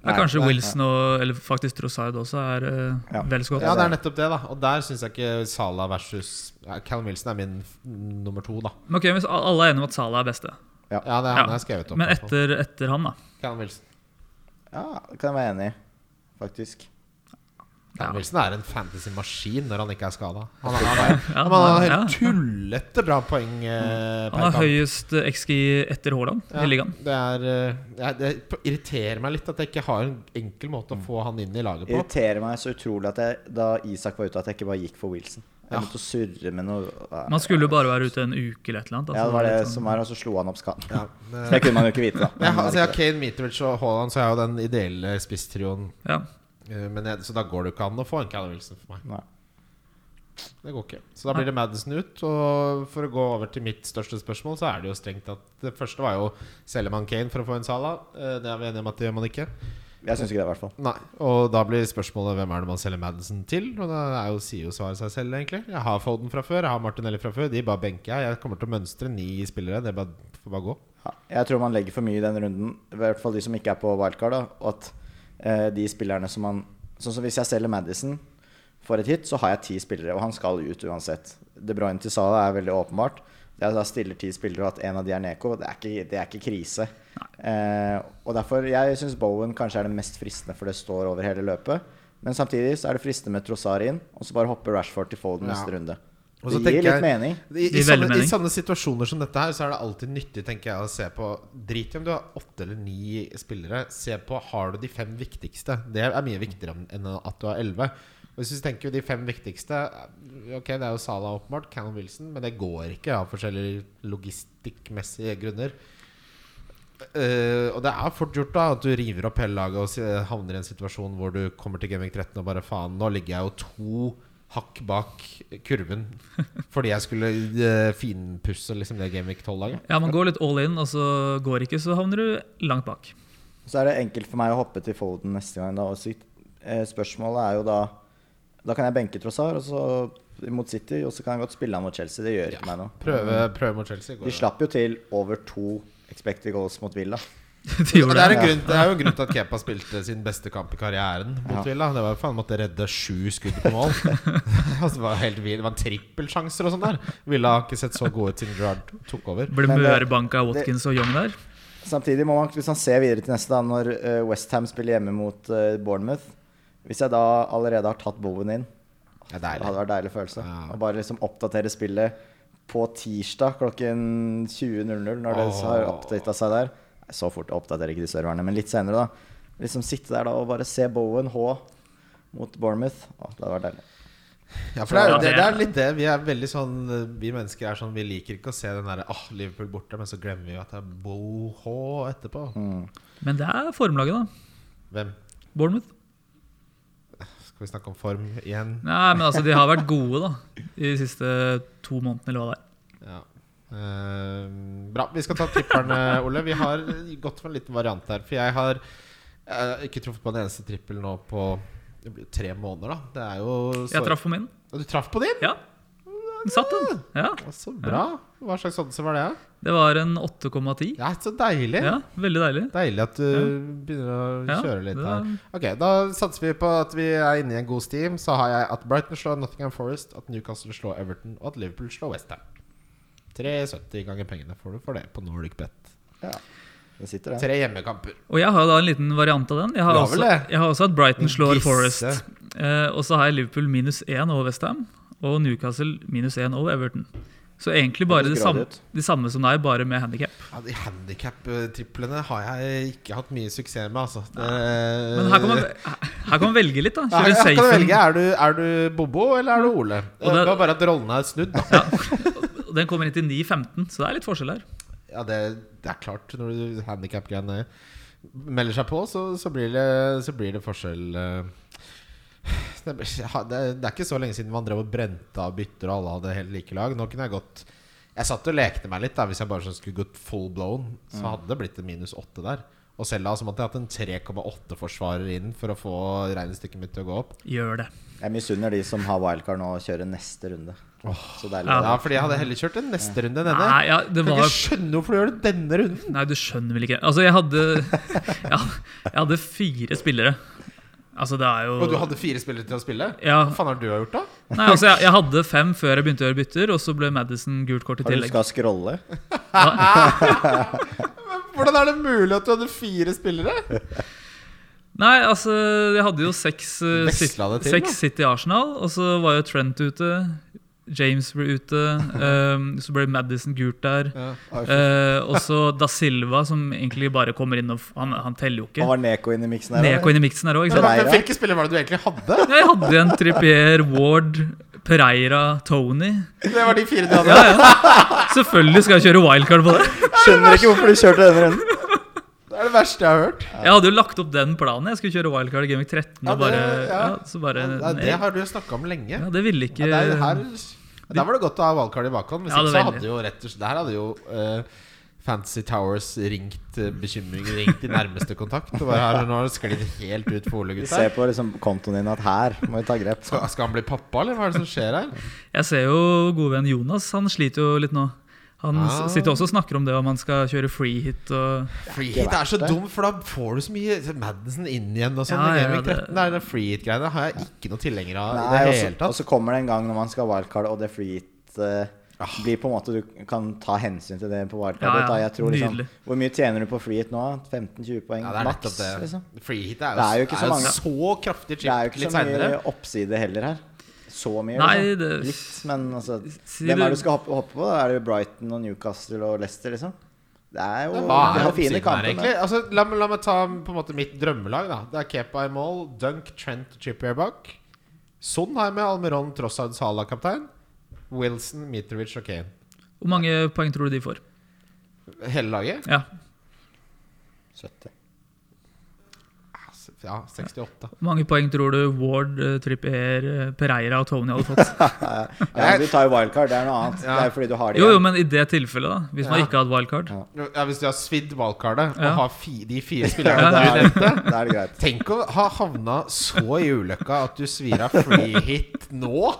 S4: Det er kanskje
S1: nei,
S4: Wilson og eller faktisk Trossard også er eh,
S1: Ja.
S4: vel så godt.
S3: Ja, det er nettopp det, da. Og der syns jeg ikke Salah versus ja, Callum Wilson er min f- nummer to, da.
S4: Men ok, hvis alle er enige om at Salah er beste,
S3: Ja, det er
S4: Ja.
S3: han jeg har skrevet opp.
S4: men
S3: i hvert fall.
S4: etter, etter han, da.
S3: Callum Wilson.
S1: Ja, det kan jeg være enig i, faktisk.
S3: Callum
S4: Ja.
S3: Wilson er en fantasy-maskin når han ikke er skada. Han, han, han,
S4: Ja,
S3: han har
S4: ja. Mm.
S3: helt tullete bra poeng eh,
S4: Han
S3: per
S4: har
S3: kamp.
S4: høyest eh, XG etter Haaland
S3: Ja,
S4: i ligaen.
S3: Det, er, eh, jeg- det p- irriterer meg litt at jeg ikke har en enkel måte
S4: Mm.
S3: å få han inn i laget på.
S1: Irriterer meg så utrolig at jeg, da Isak var ute, at jeg ikke bare gikk for Wilson. Jeg
S3: Ja.
S1: måtte surre med noe
S4: Man skulle jo bare være ute en uke eller et eller annet.
S1: Ja,
S4: altså,
S1: det var det
S4: litt sånn-
S1: som var, og så slo han opp skaden.
S3: Ja,
S1: Det
S3: det,
S1: kunne man jo ikke vite, da.
S3: jeg, har-
S1: Men
S3: altså, jeg har Kane, Mitrovic og Haaland, så jeg har jo den ideelle spisstrioen.
S4: Ja.
S3: eh, Men jeg, så da går det jo ikke an å få en Callum Wilson for meg.
S1: Nei.
S3: Det går ikke. Så da blir det Madison ut. Og for å gå over til mitt største spørsmål, så er det jo strengt at det første var jo selger man Kane for å få en Salah. Eh, Det er vi enige om at det gjør man ikke.
S1: jeg syns ikke det, i hvert fall.
S3: Nei, og da blir spørsmålet hvem er det man selger Madison til? Og da er jo sier jo svaret seg selv, egentlig. Jeg har Foden fra før, jeg har Martinelli fra før. De bare benker jeg. Jeg kommer til å mønstre ni spillere. Det bare, får bare gå.
S1: Ja, jeg tror man legger for mye i den runden, i hvert fall de som ikke er på wildcard. Da, og at eh, de spillerne som man Sånn som hvis jeg selger Madison for et hit, så har jeg ti spillere, og han skal ut uansett. De Bruyne til Sala er veldig åpenbart. Jeg da stiller ti spillere, og at en av de er Neko. Det er ikke, det er ikke krise. Eh, og derfor Jeg syns Bowen kanskje er det mest fristende, for det står over hele løpet. Men samtidig så er det fristende med Trossar inn, og så bare hopper Rashford til Folden
S3: Ja.
S1: neste runde.
S3: Og så
S1: Det
S3: tenker
S1: gir litt
S3: jeg-
S1: mening.
S3: I, i,
S4: Det gir
S3: sånne, I
S4: velmening.
S3: sånne situasjoner som dette her, så er det alltid nyttig tenker jeg å se på Drit i om du har åtte eller ni spillere. Se på har du de fem viktigste. Det er mye viktigere enn- enn at du har elleve. Og Hvis du tenker de fem viktigste Ok, det er jo Salah åpenbart, Callum Wilson, men det går ikke av forskjellige logistikkmessige grunner. Eh, og det er fort gjort da at du river opp hele laget og si- havner i en situasjon hvor du kommer til Gaming 13 og bare faen, nå ligger jeg jo to hakk bak kurven fordi jeg skulle eh, finpusse liksom det Gaming 12-laget.
S4: ja, man går litt all in, og så går det ikke, så havner du langt bak.
S1: Så er det enkelt for meg å hoppe til Folden neste gang. Da. Og så, eh, spørsmålet er jo da Da kan jeg benke Trossar og så mot City, og så kan jeg godt spille han mot Chelsea. Det gjør ikke meg noe.
S3: Prøve, prøve mot Chelsea. Går
S1: De slapp jo til over to expected goals mot Villa.
S4: De
S3: det,
S4: gjorde
S3: det, er
S4: det.
S3: en grunn, det er jo en grunn til at Kepa spilte sin beste kamp i karrieren mot
S1: Ja.
S3: Villa. Det var jo faen måtte redde sju skudd på mål. altså, det var helt vild. Det var trippelsjanser og sånn der. Villa har ikke sett så gode ut siden Gerrard tok over.
S4: Ble
S1: Men det-
S4: mørebanka av Watkins og Young der.
S1: Samtidig må man, hvis man ser videre til neste, da, når eh, West Ham spiller hjemme mot eh, Bournemouth Hvis jeg da allerede har tatt Bowen inn,
S3: Det er
S1: det
S3: deilig.
S1: hadde vært deilig følelse.
S3: Ja.
S1: Å bare liksom oppdatere spillet på tirsdag klokken 20.00, når det
S3: Åh.
S1: har oppdata seg der. Nei, Så fort oppdaterer ikke de serverne, men litt senere, da. Liksom sitte der da og bare se Bowen H mot Bournemouth. Å, det hadde vært deilig.
S3: Ja, for det er,
S4: Ja,
S3: det,
S4: det
S3: det
S4: er-
S3: er litt det. Vi er veldig sånn eh, Vi mennesker er sånn Vi liker ikke å se den derre Åh, Liverpool borte, men så glemmer vi jo at det er Boho etterpå.
S4: Men det er formlaget, da.
S3: Hvem?
S4: Bournemouth.
S3: Skal vi snakke om form igjen?
S4: Nei, men altså, de har vært gode, da. I de siste to månedene, eller hva det er.
S3: Ja. Eh, bra. Vi skal ta tripperne, Ole. Vi har gått for en liten variant her. For jeg har eh, ikke truffet på en eneste trippel nå på det blir jo tre måneder, da. Det er jo så-
S4: Jeg traff på min.
S3: Og Du traff på din?
S4: Ja. Den satt, den. Ja.
S3: Ja, Så bra. Hva slags oddse var det?
S4: Det var en 8,10.
S3: Ja, så deilig.
S4: Ja, veldig deilig.
S3: Deilig at du begynner å
S4: Ja,
S3: kjøre litt
S4: det er-
S3: her. Ok, Da satser vi på at vi er inne i en god steam. Så har jeg at Brighton slår Nottingham Forest, at Newcastle slår Everton, og at Liverpool slår Westham. 3,70 ganger pengene får du for det på Nordic Bet.
S1: Ja. Det sitter der.
S3: Tre hjemmekamper.
S4: Og jeg har jo da en liten variant av den. Jeg har,
S3: Du har vel
S4: også,
S3: det?
S4: jeg har også at Brighton slår
S3: Gisse.
S4: Forest. Eh, og så har jeg Liverpool minus 1 over Westham. Og Newcastle minus 1 over Everton. Så egentlig
S1: Det
S4: bare de
S1: ser
S4: samme,
S1: grådig ut.
S4: de samme som deg, bare med handikap.
S3: Ja, de handikap-triplene har jeg ikke hatt mye suksess med, altså. Det,
S4: Men her kan, man, her kan man velge litt, da.
S3: Eh. her,
S4: Kjøre
S3: her kan du velge.
S4: safen.
S3: Er du, er du Bobo, eller er du Ole?
S4: Og
S3: det
S4: det-
S3: var bare at rollene er snudd, da.
S4: Og Den kommer inn til 9.15, så det er litt forskjell her.
S3: Ja, det, det er klart. Når du handikap-greiene melder seg på, så, så, blir, det, så blir det forskjell. eh. Det, blir- ja, det, det er ikke så lenge siden man drev og brente av bytter, og alle hadde helt like lag. Nå kunne jeg gått Jeg satt og lekte meg litt. da Hvis jeg bare sånn skulle gått full blown, så
S4: Mm.
S3: hadde det blitt en minus åtte der. Og selv da så måtte jeg hatt en 3,8-forsvarer inn for å få regnestykket mitt til å gå opp.
S4: Gjør det.
S1: Jeg misunner de som har wildcard nå, og kjører neste runde. Så deilig. Ja.
S4: Ja.
S3: Ja, fordi jeg hadde heller kjørt en neste runde enn denne.
S4: Nei, ja, det
S3: Jeg kan
S4: var
S3: ikke skjønne hvorfor du gjør det denne runden!
S4: Nei, du skjønner vel ikke. Altså, jeg hadde Jeg, jeg hadde fire spillere. Altså, det er jo
S3: Og du hadde fire spillere til å spille?
S4: ja,
S3: Hva faen har du gjort, da?
S4: nei, altså, jeg, jeg hadde fem før jeg begynte å gjøre bytter, og så ble Madison gult kort i
S1: Har du
S4: tillegg.
S1: huska å scrolle?
S3: Hvordan er det mulig at du hadde fire spillere?
S4: Nei, altså, jeg hadde jo seks, eh, City-
S3: Veksla det til, da.
S4: seks City Arsenal, og så var jo Trent ute. James ble ute. ehm, så ble Madison gult der. Eh, og så Da Silva, som egentlig bare kommer inn og f- Han, han teller jo
S1: Og
S4: ikke.
S1: var Neko inn i miksen her?
S4: Neko inn i miksen her òg, ikke
S3: Men
S4: sant?
S3: hva- Hvilke spillere var det du egentlig hadde?
S4: Jeg hadde igjen Trippier, Ward, Pereira, Tony.
S3: Det var de fire du hadde.
S4: Ja, ja. Selvfølgelig skal jeg kjøre wildcard på det.
S1: Skjønner ikke hvorfor du kjørte denne runden.
S3: Det er det verste jeg har hørt.
S4: Jeg hadde jo lagt opp den planen. Jeg skulle kjøre wildcard i Game Week 13
S3: Ja,
S4: og
S3: det-
S4: bare Ja,
S3: ja.
S4: så bare
S3: Nei, det har du snakka om lenge.
S4: Ja, det ville ikke
S3: Ja, det er, her,
S4: Ja,
S3: der var det godt å ha valgkart i bakhånd. Hvis
S4: Ja,
S3: ikke
S4: det
S3: så
S4: er
S3: hadde jo rett og slett Der hadde jo eh, Fantasy Towers ringt eh, bekymring, ringt i nærmeste kontakt. Og bare her, nå har det sklidd helt ut for Ole,
S1: Vi
S3: gutter.
S1: ser på liksom, kontoen din at her må vi ta grep.
S3: Skal, skal han bli pappa, eller hva er det som skjer her?
S4: Jeg ser jo god venn Jonas, han sliter jo litt nå. Han s-
S3: Ah.
S4: sitter også og snakker om det, om han skal kjøre free hit og
S3: Free hit er så dum, for da får du så mye Madison inn igjen og sånn.
S4: Ja,
S3: i
S4: ja,
S3: Game Week
S4: det-
S3: 13. Det er den free hit-greiene har jeg ikke noe tilhenger av
S1: Nei,
S3: i
S1: og
S3: det
S1: så-
S3: hele
S1: Og
S3: tatt.
S1: så kommer det en gang når man skal ha wildcard, og det free hit eh,
S3: Ah.
S1: blir på en måte Du kan ta hensyn til det på wildcard.
S4: Ja, ja.
S1: da. Jeg tror, liksom,
S4: Nydelig.
S1: hvor mye tjener du på free hit nå? 15-20 poeng
S3: Ja, det er
S1: maks?
S3: nettopp det.
S1: Liksom.
S3: Free hit er jo,
S1: Det er jo ikke så mange-
S3: så kraftig
S1: Det er jo
S3: chip
S1: ikke
S3: litt
S1: så mye
S3: seinere.
S1: oppside heller her. Så mye.
S4: Nei,
S1: liksom.
S4: det-
S1: Litt, men altså
S4: Si
S1: Hvem
S4: du-
S1: er det du skal hoppe, hoppe på? da? Er det Brighton og Newcastle og Leicester, liksom? Det er jo det
S3: Hva er
S1: er jo
S3: oppsiden
S1: fine
S3: her,
S1: kamper.
S3: egentlig?
S1: men-
S3: Altså, la, meg- la meg ta på en måte mitt drømmelag. da Det er Kepa i mål, Dunk, Trent og Chippier bak. Son har jeg med Almiron, Trossard, Salah kaptein. Wilson, Mitrovic og Kane.
S4: Hvor mange poeng tror du de får?
S3: Hele laget?
S4: Ja,
S1: 70.
S3: Ja, 68.
S4: Hvor mange poeng tror du Ward, eh, Trippier, eh, Pereira og Tony hadde fått?
S1: Ja, men du tar jo wildcard, det er noe annet.
S3: Ja.
S1: Det er jo fordi du har det
S4: Jo, jo,
S1: igjen.
S4: men i det tilfellet, da. Hvis man
S3: Ja.
S4: ikke hadde wildcard.
S1: Ja.
S3: Ja, Hvis du har svidd valgkartet
S4: Ja.
S3: og har fi, de fire
S1: Da er
S3: spillerne du
S1: det-
S3: nevnte
S1: Da er det greit.
S3: Tenk å ha havna så i ulykka at du svir av free hit nå,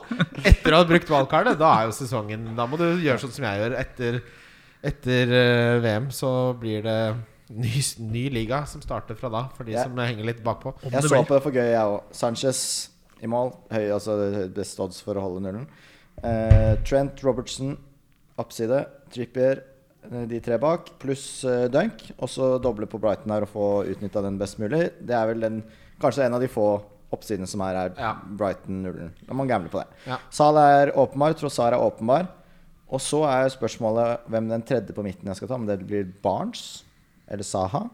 S3: etter å ha brukt valgkartet. Da er jo sesongen Da må du gjøre sånn som jeg gjør. Etter, etter eh, VM så blir det ny, s- ny liga som starter fra da, for de
S1: Ja.
S3: som henger litt bakpå.
S4: Om
S1: Jeg
S4: det
S1: så
S4: blir.
S1: på det for gøy, jeg òg. Sanchez i mål. Høy, altså det er odds for å holde nullen. Eh, Trent Robertson, oppside. Trippier, eh, de tre bak, pluss eh, Dunk. Og så doble på Brighton her og få utnytta den best mulig. Det er vel den, kanskje en av de få oppsidene som er her.
S3: Ja.
S1: Brighton-nullen. Da må man gamble på det.
S3: Ja.
S1: Sal er åpenbar, Trossar er åpenbar. Og så er spørsmålet hvem den tredje på midten jeg skal ta. Om det blir Barnes eller Saha.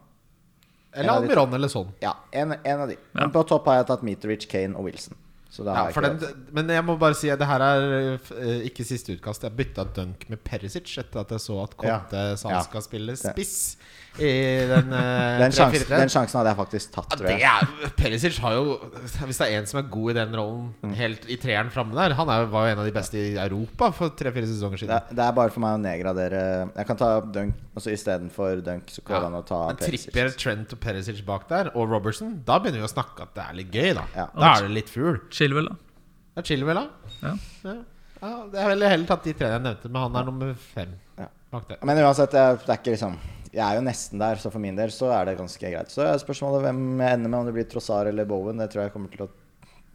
S3: Eller Almiron eller sånn.
S1: Ja, en, en av de.
S4: Ja.
S1: Men på topp har jeg tatt Mitrovic, Kane og Wilson. Så da
S3: Ja,
S1: har jeg
S3: for
S1: ikke
S3: den, men jeg må bare si at det her er eh, ikke siste utkast. Jeg bytta dunk med Perisic etter at jeg så at Conte sa
S1: Ja.
S3: han skal spille spiss i den eh,
S1: den, sjans,
S3: 3-4-3.
S1: den sjansen hadde jeg faktisk tatt,
S3: Ja,
S1: tror
S3: det
S1: jeg.
S3: er, Perisic har jo Hvis det er en som er god i den
S1: Mm.
S3: rollen helt i treeren framme der Han er, jo- var jo en av de beste i Europa for tre-fire sesonger
S1: Det,
S3: siden.
S1: er- det er bare for meg å nedgradere Jeg kan ta Dunk, og så istedenfor Dunk så går det an å ta
S3: Men
S1: Perisic.
S3: Trippier, Trent og Perisic bak der, og Robertson, da begynner vi å snakke at det er litt gøy, da.
S1: Ja.
S3: Da er det litt fugl.
S4: Chilwell, da.
S3: Det er Chilwell, da.
S4: Ja.
S3: Ja. Ja, det er vel heller tatt de tre jeg nevnte, men han er nummer fem
S1: Ja.
S3: bak der.
S1: Men uansett, jeg, det er ikke liksom Jeg er jo nesten der, så for min del så er det ganske greit. Så er spørsmålet hvem jeg ender med, om det blir Trossar eller Bowen. Det tror jeg kommer til å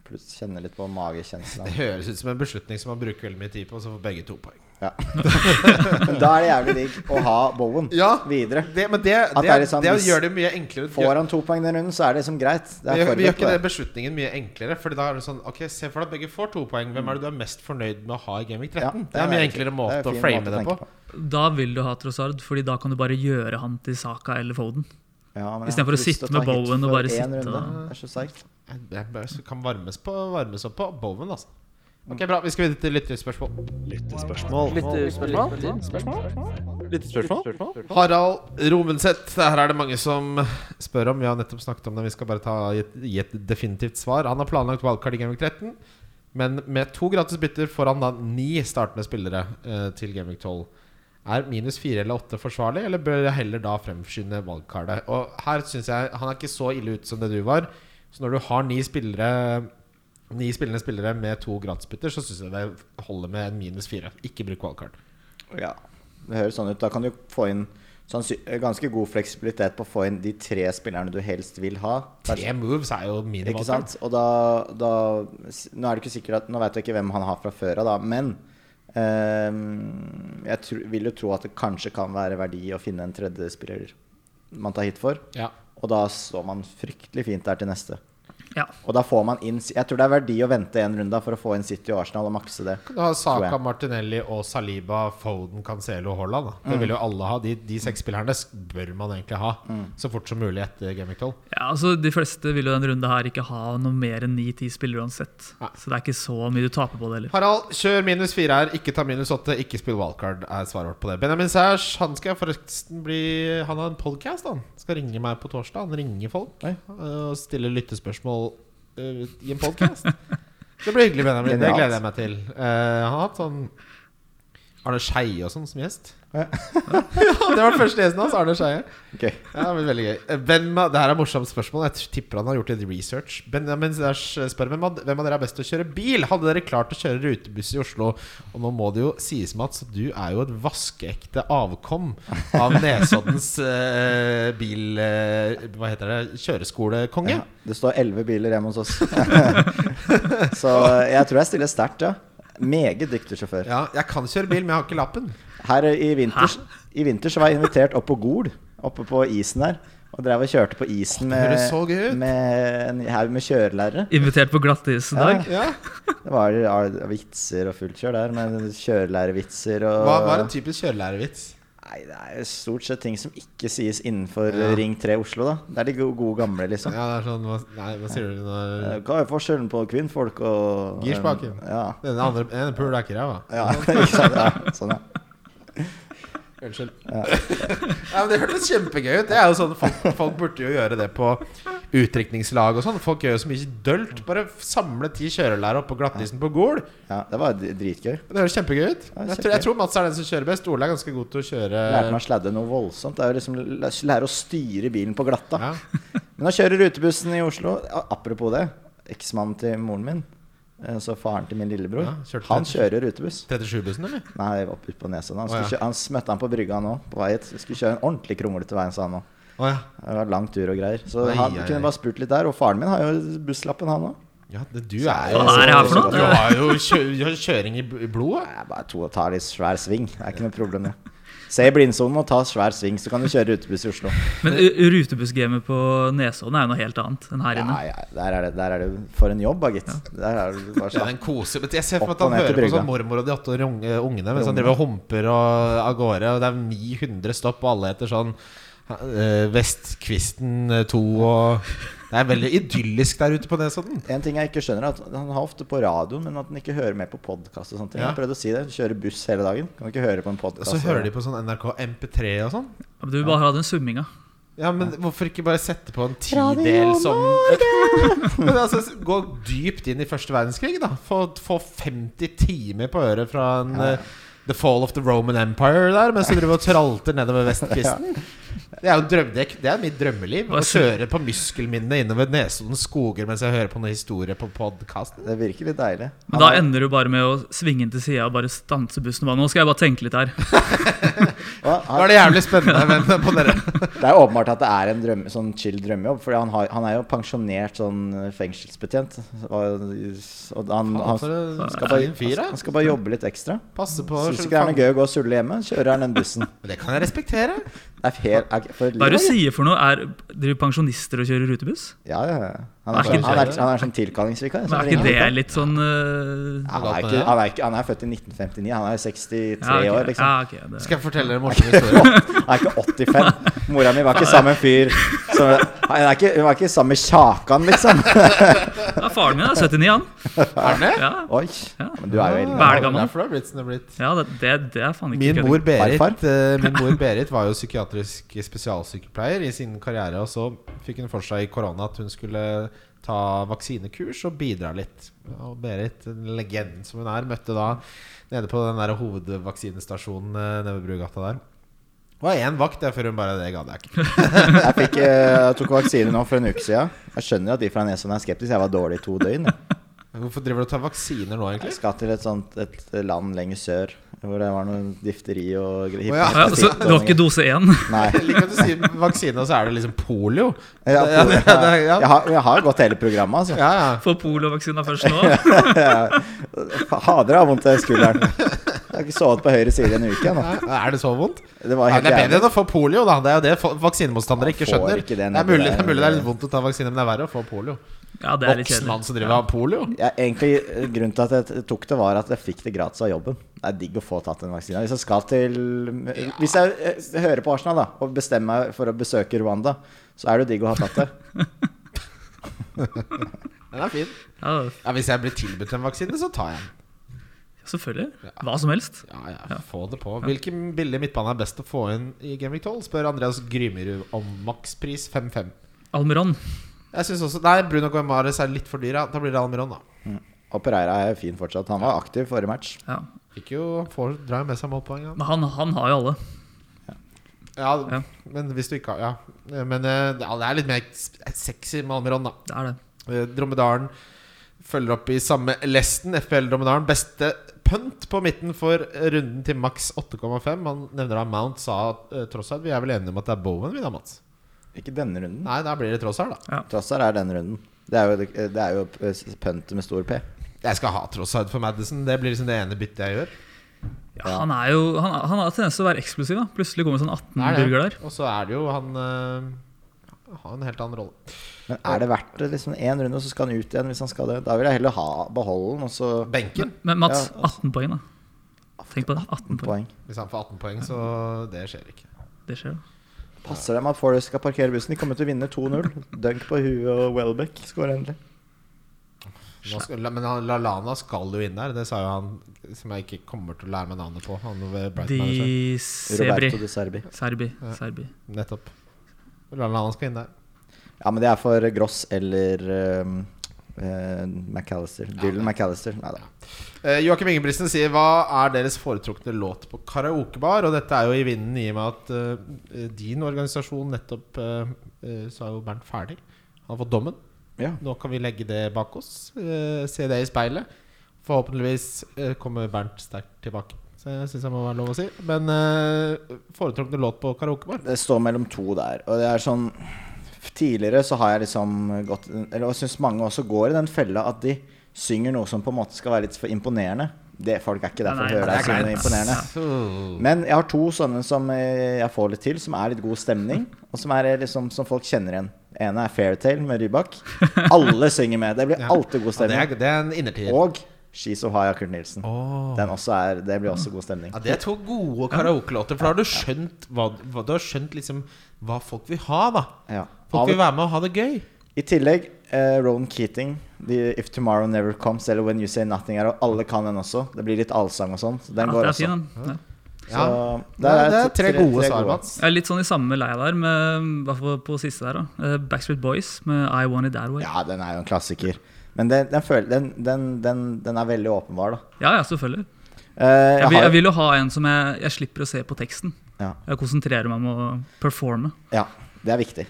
S1: pluss kjenner litt på magekjensla.
S3: Det høres ut som en beslutning som man bruker veldig mye tid på, så får begge to poeng.
S1: Ja. Men da er det jævlig digg å ha Bowen
S3: Ja.
S1: videre.
S3: Det, men det, det,
S1: det er litt sånn
S3: det
S1: hvis-
S3: gjør det mye enklere.
S1: Får han to poeng den runden, så er det liksom greit. Det
S3: Vi
S1: er
S3: gjør, vi gjør
S1: forberedt
S3: ikke
S1: på
S3: den beslutningen mye enklere. Fordi da er det sånn Ok, se for deg at begge får to poeng. Hvem er det du er mest fornøyd med å ha i Game Week 13?
S1: Ja,
S3: det er en mye
S1: veldig
S3: enklere
S1: fint.
S3: måte
S1: Det er en
S3: å
S1: fin
S3: frame
S1: måte å
S3: det på.
S1: tenke
S4: Da vil du ha Trossard, Fordi da kan du bare gjøre han til Saka eller Foden.
S1: Ja, men jeg
S4: I
S1: har
S4: stedet for å
S1: ikke lyst
S4: sitte
S1: til å
S4: med
S1: ta hit
S4: Bowen og
S1: for
S4: bare
S1: én
S4: sitte
S1: runde.
S4: og-
S1: Det er så seigt.
S3: Det er bare- så kan varmes, på, varmes opp på Bowen, altså. Ok,
S1: Mm.
S3: bra. Vi skal videre til lytterspørsmål. Harald Romenseth, her er det mange som spør om. Vi har nettopp snakket om det. Vi skal bare ta, gi, et, gi et definitivt svar. Han har planlagt valgkart i Gamvik 13, men med to gratis bytter får han da ni startende spillere eh, til Gamvik 12. Er minus fire eller åtte forsvarlig, eller bør jeg heller da fremskynde valgkartet? Og her synes jeg han er ikke så ille ute som det du var. Så når du har ni spillere Ni spillende spillere med to gratisbytter, så syns jeg det holder med en minus fire. Ikke bruk valgkart.
S1: Ja, det høres sånn ut. Da kan du få inn sannsy- ganske god fleksibilitet på å få inn de tre spillerne du helst vil ha.
S3: Tre moves er jo
S1: Ikke
S3: minimalt.
S1: sant? Og da, da s- Nå er det ikke sikkert at Nå vet jeg ikke hvem han har fra før av, da, men ehm, jeg tr vil jo tro at det kanskje kan være verdi å finne en tredje spiller man tar hit for.
S3: Ja.
S1: Og da står man fryktelig fint der til neste.
S4: Ja.
S1: Og da får man inn Jeg tror det er verdi å vente en runde da for å få inn City og Arsenal og makse det.
S3: Du har
S1: Tror
S3: Saka,
S1: jeg.
S3: Martinelli og Saliba, Foden, Cancelo og Haaland. Da. Det
S1: Mm.
S3: vil jo alle ha. De, de seks spillerne sk- bør man egentlig ha
S1: Mm.
S3: så fort som mulig etter Gamvik 12.
S4: Ja, altså De fleste vil jo denne runden her ikke ha noe mer enn 9-10 spillere uansett.
S3: Nei.
S4: Så det er ikke så mye du taper på det heller.
S3: Harald, kjør minus fire her. Ikke ta minus åtte. Ikke spill wildcard, er svaret vårt på det. Benjamin Sæsj, han skal forresten bli Han har en podkast, han. Skal ringe meg på torsdag. Han ringer folk
S1: Oi.
S3: øh, og stiller lyttespørsmål øh, i en podkast. det blir hyggelig, Benjamin. Det
S1: Genialt.
S3: gleder jeg meg til. Eh, han har hatt sånn Arne Skeie og sånn som gjest.
S1: Ja.
S3: ja, det var den første gjesten hans. Arne Skeie.
S1: Ok.
S3: Ja, men veldig gøy hvem, av- Det her er et morsomt spørsmål. Jeg tipper han har gjort litt research. Benjamin Sæsj spør hvem av, hvem av dere er best til å kjøre bil. Hadde dere klart å kjøre rutebuss i Oslo? Og nå må det jo sies, Mats, at du er jo et vaskeekte avkom av Nesoddens eh, bil... eh, hva heter det? Kjøreskolekonge.
S1: Ja, det står elleve biler hjemme hos oss. så eh, jeg tror jeg stiller sterkt, ja. Meget dyktig sjåfør.
S3: Ja, jeg kan kjøre bil, men jeg har ikke lappen.
S1: Her eh, i vinter, i vinter så var jeg invitert opp på Gol, oppe på isen der. Og drev og kjørte på isen
S3: Åh, det
S1: med,
S3: høres så gøy ut.
S1: med en haug med kjørelærere.
S4: Invitert på glattis i
S1: Ja,
S4: dag.
S3: Ja.
S1: Det var ja, vitser og fullt kjør der, med kjørelærervitser og
S3: Hva, hva er en typisk kjørelærervits?
S1: Nei, det er jo stort sett ting som ikke sies innenfor
S3: Ja.
S1: Ring 3 Oslo, da. Det er de gode, gode gamle, liksom.
S3: Ja, det er sånn hva- Nei, hva sier du
S1: Eh,
S3: når
S1: Hva er forskjellen på kvinnfolk og eh,
S3: Girspaken.
S1: Ja.
S3: Den andre Den pul er ikke ræva.
S1: ja. ikke sant? ja sånn, ja.
S3: Unnskyld. Nei, men det hørtes kjempegøy ut. Det er jo sånn Folk, folk burde jo gjøre det på utdrikningslag og sånn. Folk gjør jo så mye dølt. Bare f- samle ti kjørelærere oppå glattisen på Gol.
S1: ja. Det var d- dritgøy.
S3: Det høres kjempegøy ut.
S1: Ja,
S3: Jeg tror, jeg tror Mats er den som kjører best. Ole er ganske god til å kjøre
S1: Lærte meg å sladde noe voldsomt. Det er jo liksom l- Lære å styre bilen på glatta.
S3: ja.
S1: Men å kjøre rutebussen i Oslo a- Apropos det. Eksmannen til moren min, eh, altså faren til min lillebror,
S3: Ja, kjørte
S1: han
S3: det.
S1: kjører rutebuss.
S3: 37-bussen, eller?
S1: Nei, opp ut på Nesodden. Han,
S3: Å, ja.
S1: skulle kjø- han møtte han på brygga nå, på vei hit. Skulle kjøre en ordentlig kronglete vei, sa han nå.
S3: Å ja.
S1: Det var lang tur og greier. Så
S3: Ai,
S1: han
S3: ai, ai.
S1: kunne bare spurt litt der. Og faren min har jo busslappen, han òg.
S3: ja det, du er jo
S4: Hva er det her for noe?
S3: Du har jo kjø kjøring i b- i blodet.
S1: Bare to og ta litt svær sving. Det er ikke noe problem, det. Se i blindsonen og ta svær sving, så kan du kjøre rutebuss i Oslo.
S4: Men u- rutebussgamet på Nesodden er jo noe helt annet enn her
S1: Ja,
S4: inne.
S1: ja, der er det, der er det for en jobb, da, gitt. Der er det bare sånn.
S3: Det er
S1: slapp.
S3: en kose men Jeg ser for
S1: Opp
S3: meg at han
S1: og ned til
S3: hører på
S1: brygga.
S3: sånn mormor og de åtte år unge, ungene mens han driver og humper og av gårde. Og det er 900 stopp, og alle heter sånn eh, Vestkvisten 2 og Det er veldig idyllisk der ute på Nesodden.
S1: En ting jeg ikke skjønner, er at han har ofte på radioen, men at han ikke hører med på podkast og sånne ting.
S3: Ja.
S1: Jeg har prøvd å si det. Kjører buss hele dagen. Kan ikke høre på en
S3: Og
S1: podkast.
S3: så hører de på sånn NRK MP3 og sånn.
S4: Ja, men Du vil bare ha den summinga.
S3: Ja, men hvorfor ikke bare sette på en tidel som Men altså, Gå dypt inn i første verdenskrig, da. Få, få 50 timer på øret fra en eh, The Fall of the Roman Empire der, mens du driver og tralter nedover vestkvisten. Det er jo drømdekk. Det er mitt drømmeliv. Å
S4: Hva sier-
S3: kjøre på muskelminnet innover Nesoddens skoger mens jeg hører på noen historier på podkasten.
S1: Det virker litt deilig.
S4: Men da ender du bare med å svinge inn til sida og bare stanse bussen. og bare, Nå skal jeg bare tenke litt her.
S1: Og
S3: Da
S1: han,
S3: er det jævlig spennende men på dere.
S1: det er jo åpenbart at det er en drømme, sånn chill drømmejobb. For han, har- han er jo pensjonert sånn eh, fengselsbetjent. Og, og han, han,
S3: for en
S1: skal
S3: fin fyr,
S1: bare,
S3: da.
S1: han skal bare jobbe litt ekstra.
S3: Passe på
S1: Syns ikke det er noe gøy å gå og sulle hjemme? Kjører han den bussen.
S3: Men Det kan jeg respektere.
S1: Det er helt er, for
S4: Hva er det du
S1: livet.
S4: sier for noe? Er driver pensjonister og kjører rutebuss?
S1: Ja, ja. ja. Han
S4: Er
S1: er,
S4: ikke
S1: sånn-
S4: det-
S1: han er, han er sånn tilkallingsvikar.
S4: Men er ikke det litt sånn eh,
S1: Han er, ikke, han, er ikke, han er født i 1959. Han er 63
S4: ja, ok,
S1: år, liksom.
S4: Ja, ok, det.
S3: Skal jeg fortelle dere en morsom historie?
S1: Han er ikke 85. Mora mi var ikke samme fyr. Så, han er ikke, hun var ikke samme Kjakan, liksom.
S4: ja, faren min er 79, han.
S3: Er det?
S4: Ja,
S1: Oi.
S4: Ja.
S1: Men du er jo eldre.
S4: Hva er det gammel?
S3: Derfor du har blitt som du har blitt.
S4: ja det, det, det er faen ikke
S3: Min
S4: kødding.
S3: mor, Berit,
S1: Farfar?
S3: eh, min mor Berit var jo psykiatrisk spesialsykepleier i sin karriere. Og så fikk hun for seg i korona at hun skulle ta vaksinekurs og bidra litt. Og Berit, den legenden som hun er, møtte da nede på den der hovedvaksinestasjonen eh, nede ved Brugata der. Det var én vakt der før hun bare Det gadd jeg ikke.
S1: Jeg, fikk, eh, jeg tok vaksine nå for en uke siden. Jeg skjønner at de fra Nesodden er skeptiske. Jeg var dårlig i to døgn. jeg.
S3: Hvorfor driver du og tar vaksiner nå,
S1: Jeg
S3: egentlig?
S1: skal til et sånt et land lenger sør hvor det var noe difteri og gre-
S3: ja.
S4: ja, Så du har ikke dose én?
S1: Nei.
S3: Jeg liker at du sier vaksine, og så er det liksom polio.
S1: Ja,
S3: Ja, det- det- ja.
S1: Jeg, har, jeg har gått hele programmet, altså.
S3: Ja, ja.
S4: Får poliovaksina først nå?
S1: Hader, jeg har vondt i skulderen. Jeg har ikke sovet på høyre side i en uke ennå.
S3: Nei, Er det så vondt?
S1: Det var
S3: Nei,
S1: helt
S3: det er bedre
S1: jævlig.
S3: enn å få polio, da. Det er jo det fo- vaksinemotstandere ikke
S1: Man får
S3: skjønner.
S1: ikke det
S3: det, er
S1: nedi
S3: mulig,
S1: der.
S3: det er mulig det er litt vondt å ta vaksine, men det er verre å få polio.
S4: Ja, det er litt
S3: Voksen mann
S4: kjedelig.
S3: som driver og har polio?
S1: Ja, egentlig eh, Grunnen til at jeg tok det, var at jeg fikk det gratis av jobben. Det er digg å få tatt en vaksine. Hvis jeg skal til Hvis jeg eh, hører på Arsenal da og bestemmer meg for å besøke Rwanda, så er det jo digg å ha tatt det.
S3: Den er fin.
S4: Ja,
S3: Ja, hvis jeg blir tilbudt en vaksine, så tar jeg den.
S4: selvfølgelig. Hva som helst.
S3: Ja, ja, få det på. Hvilken billig midtbane er best å få inn i Gameweek 12? Spør Andreas Grymerud om makspris 5-5.
S4: Almeron.
S3: Jeg synes også Nei, Bruno Guimares er litt for dyr, ja. Da blir det Almiron, da.
S1: Og Pereira er jo fin fortsatt. Han var aktiv forrige match.
S4: Ja.
S3: Fikk jo Han får dra med seg målpoeng, han.
S4: Men han, han har jo alle.
S3: Ja,
S4: Ja.
S3: men hvis du ikke har Ja. Men eh, ja, det er litt mer sexy med Almiron, da.
S4: Det er det.
S3: Eh, Dromedaren følger opp i samme lesten. FPL Dromedaren. Beste pønt på midten for runden til maks 8,5. Han nevner da Mount, sa eh, Trossard. Vi er vel enige om at det er Bowen vi da, Mats?
S1: Ikke denne
S4: Mm.
S1: runden.
S3: Nei, da blir det Trossard, da.
S1: Trossar er denne runden. Det er jo, det er jo pøntet med stor P.
S3: Jeg skal ha Trossard for Madison. Det blir liksom det ene byttet jeg gjør.
S4: Ja, han, er jo, han, han har tendens til å være eksklusiv. Da. Plutselig kommer sånn 18
S3: Det er det.
S4: burger der.
S3: Og så er det jo han eh, Har en helt annen rolle.
S1: Men er det verdt det? Liksom én runde, og så skal han ut igjen hvis han skal det. Da vil jeg heller ha beholde den, og så
S3: Benken.
S4: Men Mats,
S1: Ja,
S4: 18 poeng, da. Tenk på det. 18 poeng.
S1: poeng.
S3: Hvis han får 18 poeng, så det skjer ikke.
S4: Det skjer, da.
S1: Passer dem at Forest skal parkere bussen. De kommer til å vinne 2-0. Dunk på huet og Welbeck skårer endelig.
S3: Nå skal, men han- Lallana skal jo inn der. Det sa jo han som jeg ikke kommer til å lære meg navnet på. Han ved Brighton er
S4: De
S3: jo sjef.
S4: Sebri.
S1: Roberto de Serbi.
S4: Serbi. Serbi.
S3: Nettopp. Lallana skal inn der.
S1: Ja, men det er for Gross eller um, eh, McAllister. Dylan McAllister. Nei da.
S3: Eh, Joakim Ingebrigtsen sier hva er deres foretrukne låt på karaokebar? Og dette er jo i vinden i og med at eh, din organisasjon nettopp eh, eh, Så er jo Bernt ferdig. Han har fått dommen.
S1: Ja.
S3: Nå kan vi legge det bak oss. eh, se det i speilet. Forhåpentligvis eh, kommer Bernt sterkt tilbake. Så jeg syns jeg må være lov å si. Men eh, foretrukne låt på karaokebar?
S1: Det står mellom to der. Og det er sånn Tidligere så har jeg liksom gått Eller jeg syns mange også går i den fella at de synger noe som på en måte skal være litt for imponerende. Det, folk er ikke der for
S4: Nei,
S1: å høre
S4: det er
S1: deg synge
S4: greit.
S1: noe imponerende. Men jeg har to sånne som eh, jeg får litt til, som er litt god stemning, og som, er eh, liksom, som folk kjenner igjen. ene er Fairtale med Rybak. Alle synger med. Det blir alltid god
S3: Ja, det,
S1: stemning.
S3: er, det er en innertier.
S1: Og She's So High av Kurt Nilsen.
S3: Åh.
S1: Den også er, det blir også god stemning.
S3: Ja, det er to gode karaokelåter, for da har du skjønt hva, hva, Du har skjønt liksom hva folk vil ha, da.
S1: Ja.
S3: Folk
S1: Av,
S3: vil være med og ha det gøy.
S1: I tillegg eh, Rowan Keating, The If Tomorrow Never Comes eller When You Say Nothing er og alle kan den også. Det blir litt allsang og sånn. så Den
S4: Ja,
S1: går
S4: det er
S1: også.
S4: fin, den. Ja.
S1: Så
S3: det, er, det er tre gode
S1: tre
S3: svar,
S1: gode.
S3: Mats.
S4: Jeg er litt sånn i samme leia der, med, i hvert fall på siste der. da Eh, Backstreet Boys med I Want It That Way.
S1: Ja, den er jo en klassiker. Men den, den, føl- den, den, den, den er veldig åpenbar, da.
S4: Ja, ja, selvfølgelig.
S1: Eh,
S4: Jeg vil,
S1: har-
S4: jeg vil jo ha en som jeg, jeg slipper å se på teksten.
S1: Ja.
S4: Jeg konsentrerer meg om å performe.
S1: Ja, det er viktig.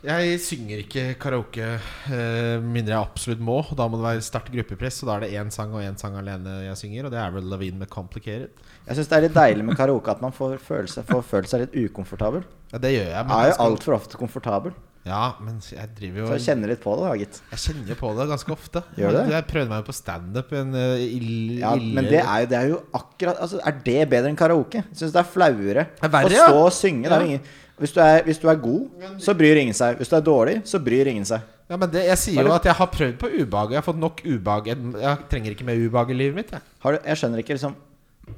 S3: Jeg synger ikke karaoke eh, mindre jeg absolutt må. Da må det være sterkt gruppepress, og da er det én sang og én sang alene jeg synger. Og det er vel Levine med 'Complicated'.
S1: Jeg syns det er litt deilig med karaoke at man får føle seg, får føle seg litt ukomfortabel.
S3: Ja, det gjør jeg.
S1: Jeg er
S3: jeg
S1: jo altfor ofte komfortabel,
S3: ja, men jeg driver jo
S1: så jeg kjenner litt på det, da, gitt.
S3: Jeg kjenner på det ganske ofte.
S1: Gjør du det?
S3: Jeg prøvde meg jo på standup. En eh, ill-
S1: Ja,
S3: ille-
S1: men det er, jo, det er jo akkurat altså, Er det bedre enn karaoke? Jeg syns det er flauere
S3: er
S1: å
S3: verre,
S1: stå
S3: ja.
S1: og synge. Det er jo ingen, hvis, du er, hvis du er god, så bryr ingen seg. Hvis du er dårlig, så bryr ingen seg.
S3: Ja, men det, Jeg sier jo at jeg har prøvd på ubehag. Jeg har fått nok ubehag. Jeg, jeg trenger ikke mer ubehag i livet mitt. Jeg.
S1: Har du, jeg skjønner ikke liksom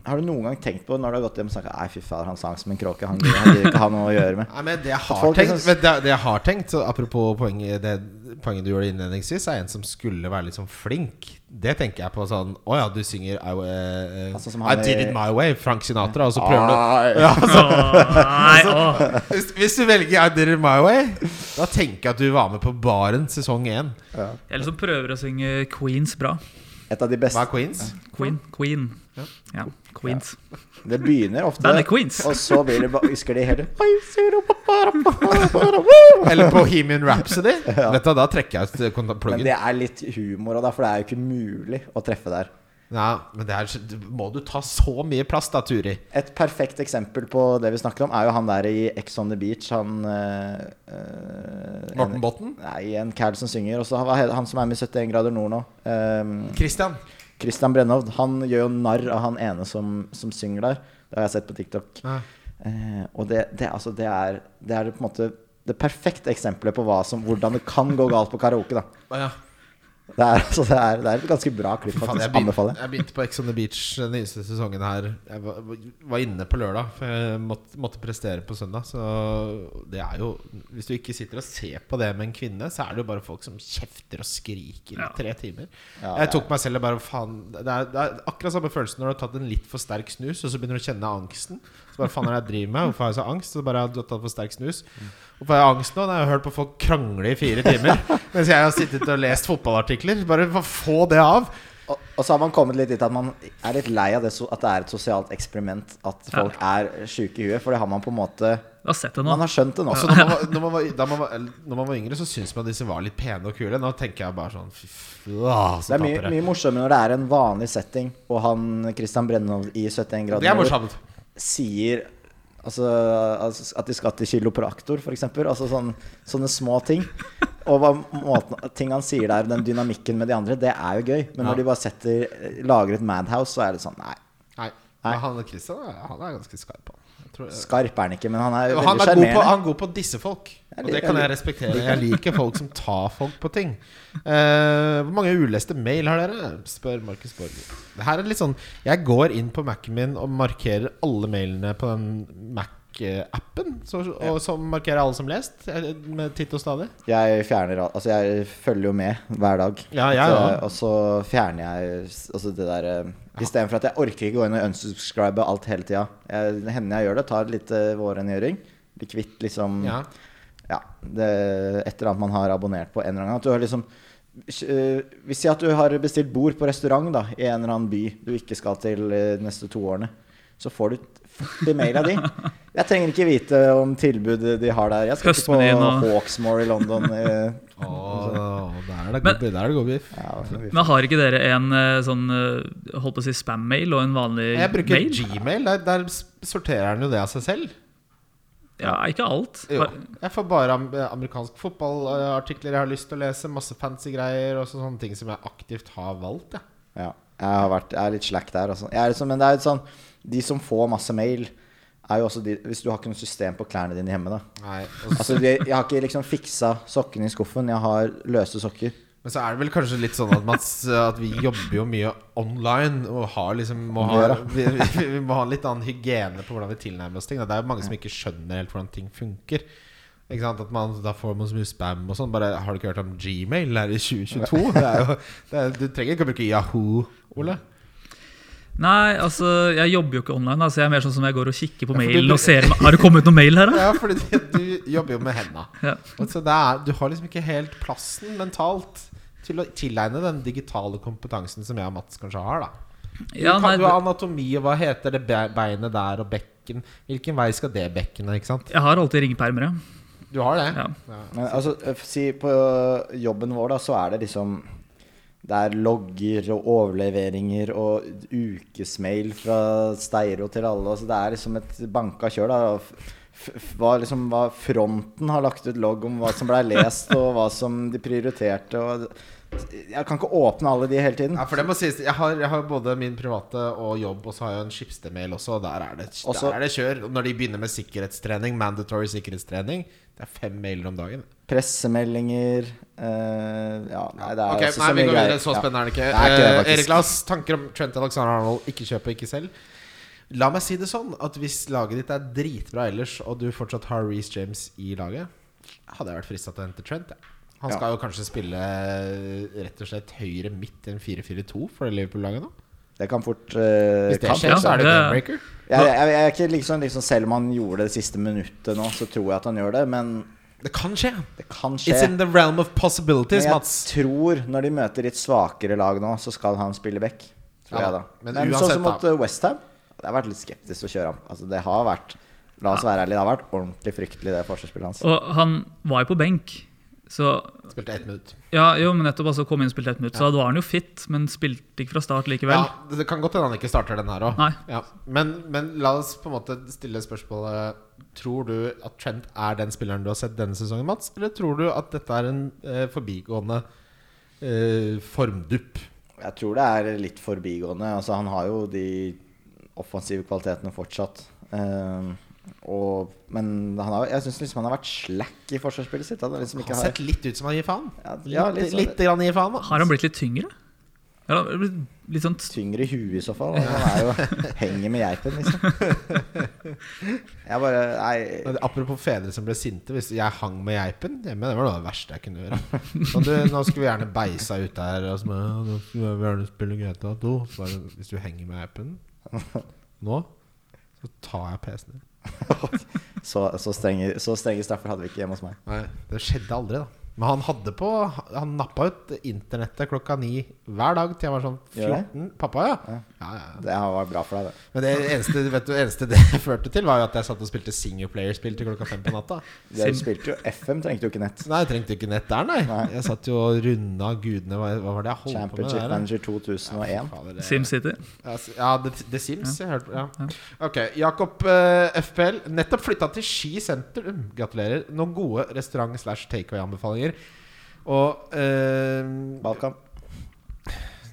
S1: Har du noen gang tenkt på når du har gått hjem og sagt Nei, fy fader, han sang som en kråke. Han gidder han gidder ikke ha noe å gjøre med.
S3: Nei, men det jeg har
S1: folk
S3: tenkt,
S1: liksom-
S3: men det, det jeg har tenkt så Apropos poenget, det, poenget du gjorde innledningsvis, er en som skulle være litt sånn flink. Det tenker jeg på sånn Å ja, du synger I, eh,
S1: Altså, som
S3: I
S1: han i-
S3: Did It My Way, Frank Sinatra, og så prøver du
S1: Ai.
S3: ja, altså,
S4: Åh, nei, åh.
S1: Ah.
S3: hvis, hvis du velger I Did It My Way, da tenker jeg at du var med på Baren sesong én.
S4: Eller som prøver å synge Queens bra.
S1: Et av de beste
S3: Hva er Queens?
S4: Queen. Queen. Ja, Queens.
S1: Det begynner ofte
S4: Bandet Queens.
S1: Og så blir det, ba- husker de hele
S3: Eller Bohemian Rhapsody. Vet du, da trekker jeg ut eh, kont-
S1: Men
S3: pluggen.
S1: det er litt humor og da, for det er jo ikke mulig å treffe der.
S3: Ja, men det er, må du ta så mye plass, da, Turi?
S1: Et perfekt eksempel på det vi snakket om, er jo han der i Ex on the Beach. Han eh, eh,
S3: Morten
S1: en-
S3: Botten?
S1: Nei, en cal som synger. Og så han- hva heter han som er med i 71 grader nord nå. Eh,
S3: Christian.
S1: Christian Brennovd. Han gjør jo narr av han ene som, som synger der. Det har jeg sett på TikTok.
S3: Ja.
S1: Eh, og det, det, altså, det, er, det er på en måte det perfekte eksempelet på hva som, hvordan det kan gå galt på karaoke. Da.
S3: Å, ja.
S1: Det, er, altså, det, er, det er et ganske bra klipp.
S3: Faen, jeg,
S1: Faktisk,
S3: begynte,
S1: anbefaler jeg.
S3: jeg begynte på Ex on the Beach den nyeste sesongen her. Jeg var, var inne på lørdag, for jeg måtte, måtte prestere på søndag. Så det er jo Hvis du ikke sitter og ser på det med en kvinne, så er det jo bare folk som kjefter og skriker i
S4: Ja.
S3: tre timer.
S1: Ja,
S3: jeg tok meg selv i bare faen det er, det er akkurat samme følelsen når du har tatt en litt for sterk snus, og så begynner du å kjenne angsten. Så bare faen er det jeg driver med? Hvorfor har jeg så angst? Så bare du har tatt for sterk snus.
S1: Mm.
S3: Hvorfor har jeg angst nå? Når jeg har hørt på folk krangle i fire timer. Mens jeg har sittet og lest fotballartikler. Bare få det av.
S1: Og, og så har man kommet litt dit at man er litt lei av det, so- at det er et sosialt eksperiment at folk er sjuke i huet. For det har man på en måte
S4: Jeg har sett det nå.
S1: Man har skjønt det nå.
S3: Altså, når, man var, når, man var, da man var, eller, når man var yngre, så syntes man disse var litt pene og kule. Nå tenker jeg bare sånn Fy faen,
S1: Det
S3: så
S1: er mye,
S3: tapere.
S1: mye morsommere når det er en vanlig setting, og han Christian Brennovd i 71 grader
S3: Det er
S1: nord
S3: morsomt.
S1: sier altså, altså, at de skal til kiropraktor, f.eks. Altså sånn, sånne små ting. Og hva, måten, ting han sier der, den dynamikken med de andre, det er jo gøy. Men
S3: Ja.
S1: når de bare setter, lager et Madhouse, så er det sånn Nei,
S3: Nei. Men han Christian er, han er ganske skarp. Han, jeg tror,
S1: skarp er han ikke, men han er jo veldig
S3: han, er god på,
S1: sjarmerende.
S3: han er god på å disse folk.
S1: Jeg
S3: Og det
S1: liker-
S3: kan
S1: jeg
S3: jeg respektere. Jeg liker folk som tar folk på ting. Eh, hvor mange uleste mail har dere? Spør Markus Borg. Det her er litt sånn Jeg går inn på Mac-en min og markerer alle mailene på den Mac-appen. Så, og så markerer jeg alle som lest, eh, med titt og stadig.
S1: Jeg fjerner al- Altså, jeg følger jo med hver dag.
S3: Ja, jeg
S1: Så-
S3: òg.
S1: og så fjerner jeg s- altså det der eh, Istedenfor at jeg orker ikke gå inn og unsubscribe alt hele tida. Jeg- Det hender jeg gjør det. Tar litt eh, vårrengjøring. Blir kvitt liksom
S3: Ja.
S1: ja, det, etter at man har abonnert på en eller annen gang. At du har liksom eh, Vi sier at du har bestilt bord på restaurant da, i en eller annen by du ikke skal til eh, de neste to årene. Så får du 40 mail av de. Jeg trenger ikke vite om tilbudet de har der. Jeg skal ikke
S4: Høstmenyen
S1: på
S4: og-
S1: Hawksmoor i London. eh,
S3: Åh, der Altså, er det
S4: Men-
S3: god, der er det god biff.
S1: Ja, vi
S4: Men har ikke dere en eh, sånn eh, holdt på å si spam-mail og en vanlig
S3: Jeg bruker
S4: mail?
S3: Gmail. Der, der s- sorterer den jo det av seg selv.
S4: Ja, ikke alt.
S3: Jo.
S4: Bare-
S3: Jeg får bare am amerikansk fotballartikler jeg har lyst til å lese. Masse fancy greier og så sånne ting som jeg aktivt har valgt. Ja.
S1: Ja, jeg, har vært, jeg er litt slack der. Altså. Jeg er liksom, men det er litt sånn De som får masse mail, er jo også de Hvis du har ikke noe system på klærne dine hjemme, da.
S3: Nei, og så,
S1: Altså, de, jeg har ikke liksom fiksa sokkene i skuffen. Jeg har løse sokker.
S3: men så er det vel kanskje litt sånn at, man, s- at vi jobber jo mye online og har liksom må ha, vi, vi, vi må ha en litt annen hygiene på hvordan vi tilnærmer oss ting. da. Det er jo mange som ikke skjønner helt hvordan ting funker. Ikke sant? At man, da får man så mye spam og sånn. Bare har du ikke hørt om Gmail her i 2022? Det er jo, det er, du trenger ikke å bruke Yahoo, Ole.
S4: Nei, altså, jeg jobber jo ikke online. da, Så jeg er mer sånn som jeg går og kikker på
S3: for du-
S4: mailen og ser om- Har det kommet noe mail her, da?
S3: Ja, fordi du jobber jo med henda.
S4: Ja.
S3: Altså, det er, du har liksom ikke helt plassen mentalt til å tilegne den digitale kompetansen som jeg og Mats kanskje har. da Du,
S4: Ja,
S3: kan,
S4: nei,
S3: du har anatomi og hva heter det be- beinet der og bekk bekken Hvilken vei skal det bekkenet, ikke sant?
S4: Jeg har alltid ringepermer, ja.
S3: Du har det?
S4: Ja.
S1: Men altså, f- si på jobben vår, da, så er det liksom Det er logger og overleveringer og ukesmail fra Steiro til alle. Altså, det er liksom et banka kjør, da. F- f- f- Hva, liksom, hva fronten har lagt ut logg om hva som blei lest, og hva som de prioriterte. Og jeg kan ikke åpne alle de hele tiden.
S3: Ja, for det må sies Jeg har, jeg har både min private og jobb, og så har jeg en skipsdemail også. Og der er, det,
S1: Også-
S3: der er det kjør. Og Når de begynner med sikkerhetstrening, mandatory sikkerhetstrening, det er fem mailer om dagen.
S1: Pressemeldinger eh, Ja, nei, det er
S3: Ok,
S1: altså
S3: nei,
S1: så
S3: vi
S1: mye
S3: går
S1: greier.
S3: videre. Så
S1: Ja.
S3: spennende er det ikke.
S1: Det er ikke det,
S3: Eh,
S1: faktisk.
S3: Erik Lass, tanker om Trent Alexander Arnold, ikke kjøp og ikke selg. La meg si det sånn at hvis laget ditt er dritbra ellers, og du fortsatt har Reece James i laget, hadde jeg vært frista til å hente Trent. jeg. Han
S1: Ja.
S3: skal jo kanskje spille eh, rett og slett høyre midt i en 4-4-2 for det Liverpool-laget nå.
S1: Det kan fort eh,
S3: Hvis det
S1: kan fort
S3: skjer,
S4: ja.
S3: så er det
S4: det-
S3: game-breaker.
S1: Jeg, jeg, jeg er ikke liksom, liksom, selv om han gjorde det siste minuttet nå, så tror jeg at han gjør det. Men
S3: Det kan skje.
S1: det kan skje.
S3: It's in the realm of
S1: Men
S3: possibilities,
S1: jeg
S3: Mats.
S1: tror når de møter litt svakere lag nå, så skal han spille back. Tror
S3: Ja,
S1: jeg da.
S3: men
S1: Men,
S3: uansett
S1: sånn som mot
S3: da.
S1: eh, West Ham det har vært litt skeptisk å kjøre ham. Altså, det har vært La oss være ærlige, det har vært ordentlig fryktelig, det forsvarsspillet hans.
S4: Og han var jo på benk, så
S3: Spilte ett minutt.
S4: Ja, jo, men nettopp altså kom inn og spilte ett minutt, så da var han jo fit, men spilte ikke fra start likevel.
S3: Ja, det- det kan godt hende han ikke starter den her òg.
S4: Nei.
S3: Ja. Men, men la oss på en måte stille spørsmålet Tror du at Trent er den spilleren du har sett denne sesongen, Mats? Eller tror du at dette er en eh, forbigående eh, formdupp?
S1: Jeg tror det er litt forbigående. Altså, han har jo de offensive kvalitetene fortsatt. Eh, og, men han har, jeg syns liksom han har vært slack i forsvarsspillet sitt. Han har liksom
S3: Han
S1: ikke
S3: har
S1: har,
S3: sett litt ut som han gir faen.
S1: Ja, ja,
S3: litt,
S1: litt sånn-
S3: litt grann gir faen. da.
S4: Har han blitt litt tyngre? Ja, han har blitt litt sånn
S1: tyngre i huet i så fall. Altså, han er jo henger med geipen, liksom. Jeg bare Nei.
S3: Men Apropos fedre som ble sinte. Hvis jeg hang med geipen hjemme, det var noe av det verste jeg kunne gjøre. Og du, nå skulle vi gjerne beisa ut der. Og så bare, «Ja, nå skulle vi gjerne spille GTA 2. Så Bare, hvis du henger med geipen nå, så tar jeg PC-en din.
S1: Så, så, strenge, så strenge straffer hadde vi ikke hjemme hos meg.
S3: Nei, det skjedde aldri, da. Men han hadde på Han nappa ut internettet klokka ni hver dag til jeg var sånn
S1: Gjør
S3: 14. Pappa, ja. ja, ja.
S1: Det her var bra for deg, det.
S3: Men det eneste, vet du, eneste det førte til, var jo at jeg satt og spilte singleplayer-spill til klokka fem på natta.
S1: Du spilte jo FM, trengte jo ikke nett.
S3: Nei, jeg trengte ikke nett der, nei.
S1: Nei.
S3: Jeg satt jo og runda gudene Hva, hva var det jeg holdt på med?
S1: Championship
S3: der, da?
S1: Manager 2001.
S3: Fader, det-
S4: SimCity.
S3: Ja, s- Ja, The, The Sims. Jeg hørte, ja. Ok, Jakob eh, FPL. Nettopp flytta til Ski sentrum. Gratulerer. Noen gode restaurant- slash takeaway-anbefalinger. Og eh,
S1: Balkan.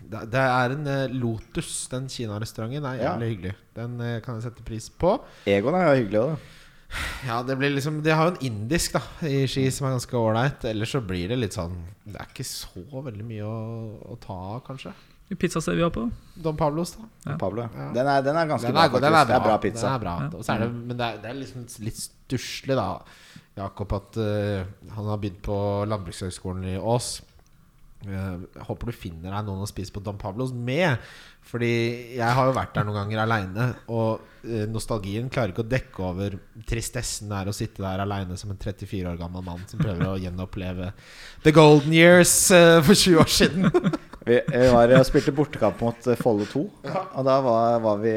S3: det det er en eh, Lotus, den kinarestauranten, er
S1: Ja.
S3: jævlig hyggelig. Den eh, kan jeg sette pris på.
S1: Egon er jo hyggelig òg, da.
S3: Ja, det blir liksom De har jo en indisk da i ski som er ganske ålreit. Ellers så blir det litt sånn Det er ikke så veldig mye å, å ta av, kanskje.
S4: Pizzastedet vi var på.
S3: Don Pavlos, da.
S4: Ja.
S1: Pablo.
S3: Ja.
S1: Den er, den er ganske
S3: Den
S1: bra,
S3: er,
S1: faktisk.
S3: god, den er bra.
S1: Det er bra pizza.
S3: Den er bra.
S4: Ja.
S3: Og så er det, men det er, det er liksom litt stusslig, da, Jakob, at eh, han har begynt på Landbrukshøgskolen i Ås. Eh, håper du finner deg noen å spise på Don Pablos med. Fordi jeg har jo vært der noen ganger aleine, og eh, nostalgien klarer ikke å dekke over tristessen det er å sitte der aleine som en 34 år gammel mann som prøver å gjenoppleve the golden years eh, for 20 år siden.
S1: Vi, vi var og spilte bortekamp mot eh, Follo 2. Og da var, var vi,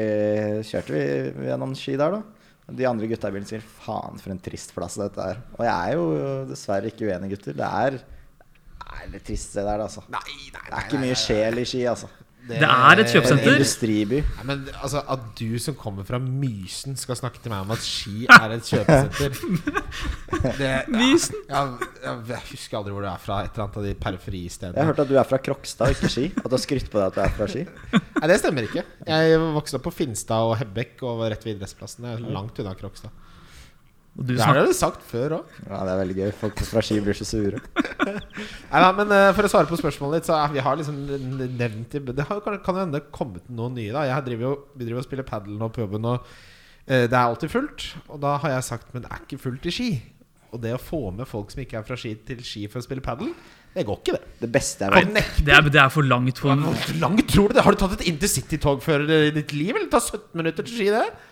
S1: kjørte vi gjennom Ski der, da. Og De andre gutta i bilen sier 'faen, for en trist plass dette er'. Og jeg er jo dessverre ikke uenig, gutter. Det er, det er litt trist det der, altså. Det
S3: Nei, nei, nei,
S1: er ikke
S3: nei,
S1: mye sjel i Ski, altså.
S3: nei.
S4: Det er et
S1: En
S4: kjøpesenter.
S1: industriby.
S3: Nei, men altså, At du som kommer fra Mysen skal snakke til meg om at Ski er et kjøpesenter det,
S4: Mysen?
S3: Ja, ja, jeg husker aldri hvor du er fra. Et eller annet av de
S1: Jeg
S3: periferistedene.
S1: hørte at du er fra Krokstad og ikke Ski. At du har skrytt på deg at du er fra Ski.
S3: Nei, det stemmer ikke. Jeg vokste opp på Finstad og Hebbek og var rett ved idrettsplassen. Jeg er langt unna Krokstad.
S4: Og du
S3: Det har
S4: snakket,
S3: dere sagt før òg.
S1: Ja, det er veldig gøy. Folk fra Ski blir så sure.
S3: Nei, nei, men eh, for å svare på spørsmålet ditt, så er, vi har liksom nevnt i- Det har, kan kan jo hende kommet noen nye, da. Jeg driver jo, vi driver og spiller padel nå på jobben, og eh, det er alltid fullt. Og da har jeg sagt men det er ikke fullt i Ski. Og det å få med folk som ikke er fra Ski, til Ski for å spille padel, det går ikke, det.
S1: Det beste jeg
S4: Nei,
S1: vet
S4: det, er, det er for langt for en
S3: eh, Hvor langt tror du det? Har du tatt et intercitytog før i ditt liv? Eller det tar 17 minutter til Ski, det?
S1: eh,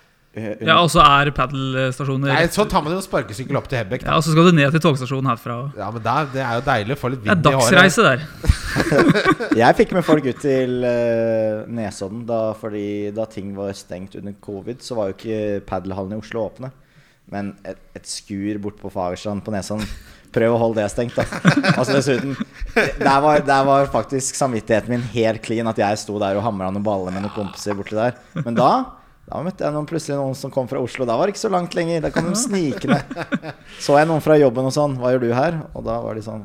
S4: Ja, og så er padelstasjoner
S3: Nei, sånn tar man jo sparkesykkel opp til Hebekk.
S4: Ja, og så skal du ned til togstasjonen herfra. og-
S3: Ja, men der, det er jo deilig å få litt
S4: Det er
S3: vind i håret.
S4: dagsreise der.
S1: Jeg fikk med folk ut til eh, Nesodden da, fordi da ting var stengt under covid, så var jo ikke padelhallene i Oslo åpne. Men et, et skur bort på Fagerstrand på Nesodden Prøv å holde det stengt, da. Altså dessuten Der var, der var faktisk samvittigheten min helt clean at jeg sto der og hamra noen baller med noen kompiser borti der. Men da da møtte jeg noen, plutselig noen som kom fra Oslo. Da var det ikke så langt lenger. Da kom de snikende. Så jeg noen fra jobben og sånn. Hva gjør du her? Og da var de sånn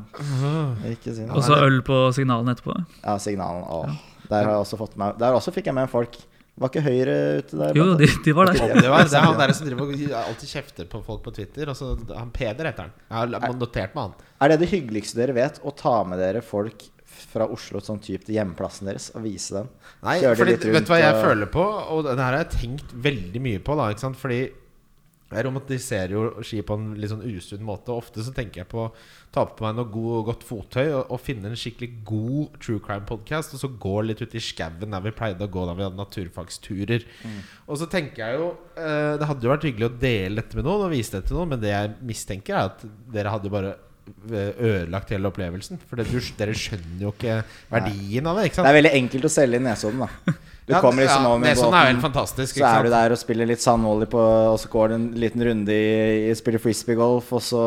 S1: Ikke si noe.
S4: Og så øl på signalene etterpå.
S1: Ja, signalen. Åh. Der, har jeg også fått med, der også fikk jeg med folk. Var ikke Høyre ute der?
S4: Jo,
S1: blant
S4: de, de var
S1: annet?
S4: der.
S3: Om Det, var, det er han der som driver og alltid kjefter på folk på Twitter. Og så, han Peder heter han. Jeg har notert meg han.
S1: Er det det hyggeligste dere vet? Å ta med dere folk fra Oslo sånn typ til hjemplassen deres og vise dem?
S3: Nei,
S1: Kjøre de
S3: fordi,
S1: litt rundt eh,
S3: vet du hva jeg
S1: og-
S3: føler på? Og det her har jeg tenkt veldig mye på. da, ikke sant? Fordi jeg romantiserer jo ski på en litt sånn usunn måte. Og ofte så tenker jeg på å ta på meg noe god, godt fottøy og, og finne en skikkelig god true crime-podkast, og så gå litt ut i skauen der vi pleide å gå da vi hadde naturfagsturer.
S1: Mm.
S3: Og så tenker jeg jo eh, Det hadde jo vært hyggelig å dele dette med noen og vise det til noen, men det jeg mistenker, er at dere hadde jo bare eh, ødelagt hele opplevelsen. For det, du, dere skjønner jo ikke verdien av det. ikke sant?
S1: Det er veldig enkelt å selge i Nesodden, da. Du
S3: Ja,
S1: kommer liksom
S3: ja,
S1: over med
S3: Nesodden er helt
S1: båten,
S3: fantastisk.
S1: så er du der og spiller litt sandvolley på Og så går du en liten runde i, i spiller frisbeegolf, og så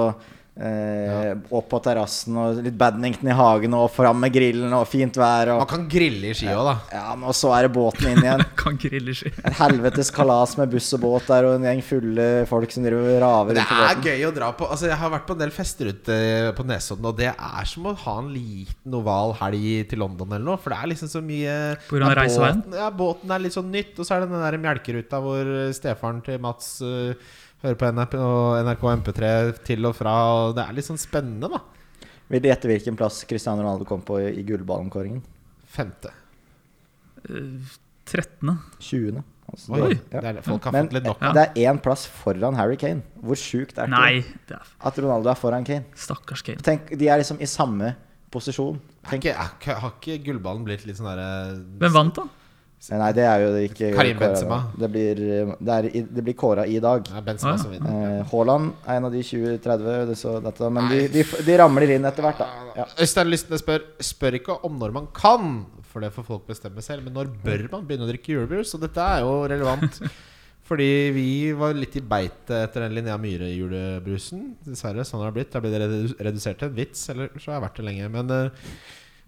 S1: eh, opp på terrassen og litt badminton i hagen, og fram med grillen, og fint vær,
S3: Man
S1: og
S3: kan grille i ski òg, da.
S1: Ja, men og så er det båten inn igjen.
S4: Kan grille ski.
S1: Et helvetes kalas med buss og båt der og en gjeng fulle folk som driver og raver
S3: Det
S1: rundt på
S3: er
S1: båten.
S3: gøy å dra på. Altså, jeg har vært på en del fester ute på Nesodden, og det er som å ha en liten oval helg til London eller noe. For det er liksom så mye
S4: På grunn av
S3: Ja,
S4: reiseveien?
S3: båten- Ja, båten er litt sånn nytt, og så er det den der melkeruta hvor eh, stefaren til Mats eh, hører på NRK og NRK MP3 til og fra, og det er litt sånn spennende, da.
S1: Vil du gjette hvilken plass Cristiano Ronaldo kom på i gullballomkåringen?
S3: Femte.
S4: Eh, 13.
S1: 20. Altså,
S3: Oi,
S1: det- ja.
S3: det er, folk har
S1: Men
S3: fått litt nok.
S4: Ja.
S1: det er én plass foran Harry Kane. Hvor sjukt er ikke
S4: Nei,
S1: det?
S4: det er
S1: At Ronaldo er foran Kane.
S4: stakkars Kane.
S1: Tenk, De er liksom i samme posisjon.
S3: Har ikke, har ikke gullballen blitt litt sånn derre
S4: Hvem vant, da?
S1: Men Nei, det er jo ikke
S3: Karim
S1: kåret.
S3: Benzema.
S1: Det blir, eh, det er i- det blir kåra i dag.
S3: ja, Benzema
S4: Ah, ja.
S3: som vinner.
S1: Eh, Haaland er en av de 20-30, det så dette, men de, de, de ramler inn etter hvert, da. Ja.
S3: Øystein Lystne spør Spør ikke om når man kan, for det får folk bestemme selv, men når bør man begynne å drikke julebrus? Og dette er jo relevant. Fordi vi var litt i beite etter den Linnea Myhre-julebrusen. Dessverre, sånn har det blitt. Da blir det redu- redusert til en vits, eller så har jeg vært det lenge. Men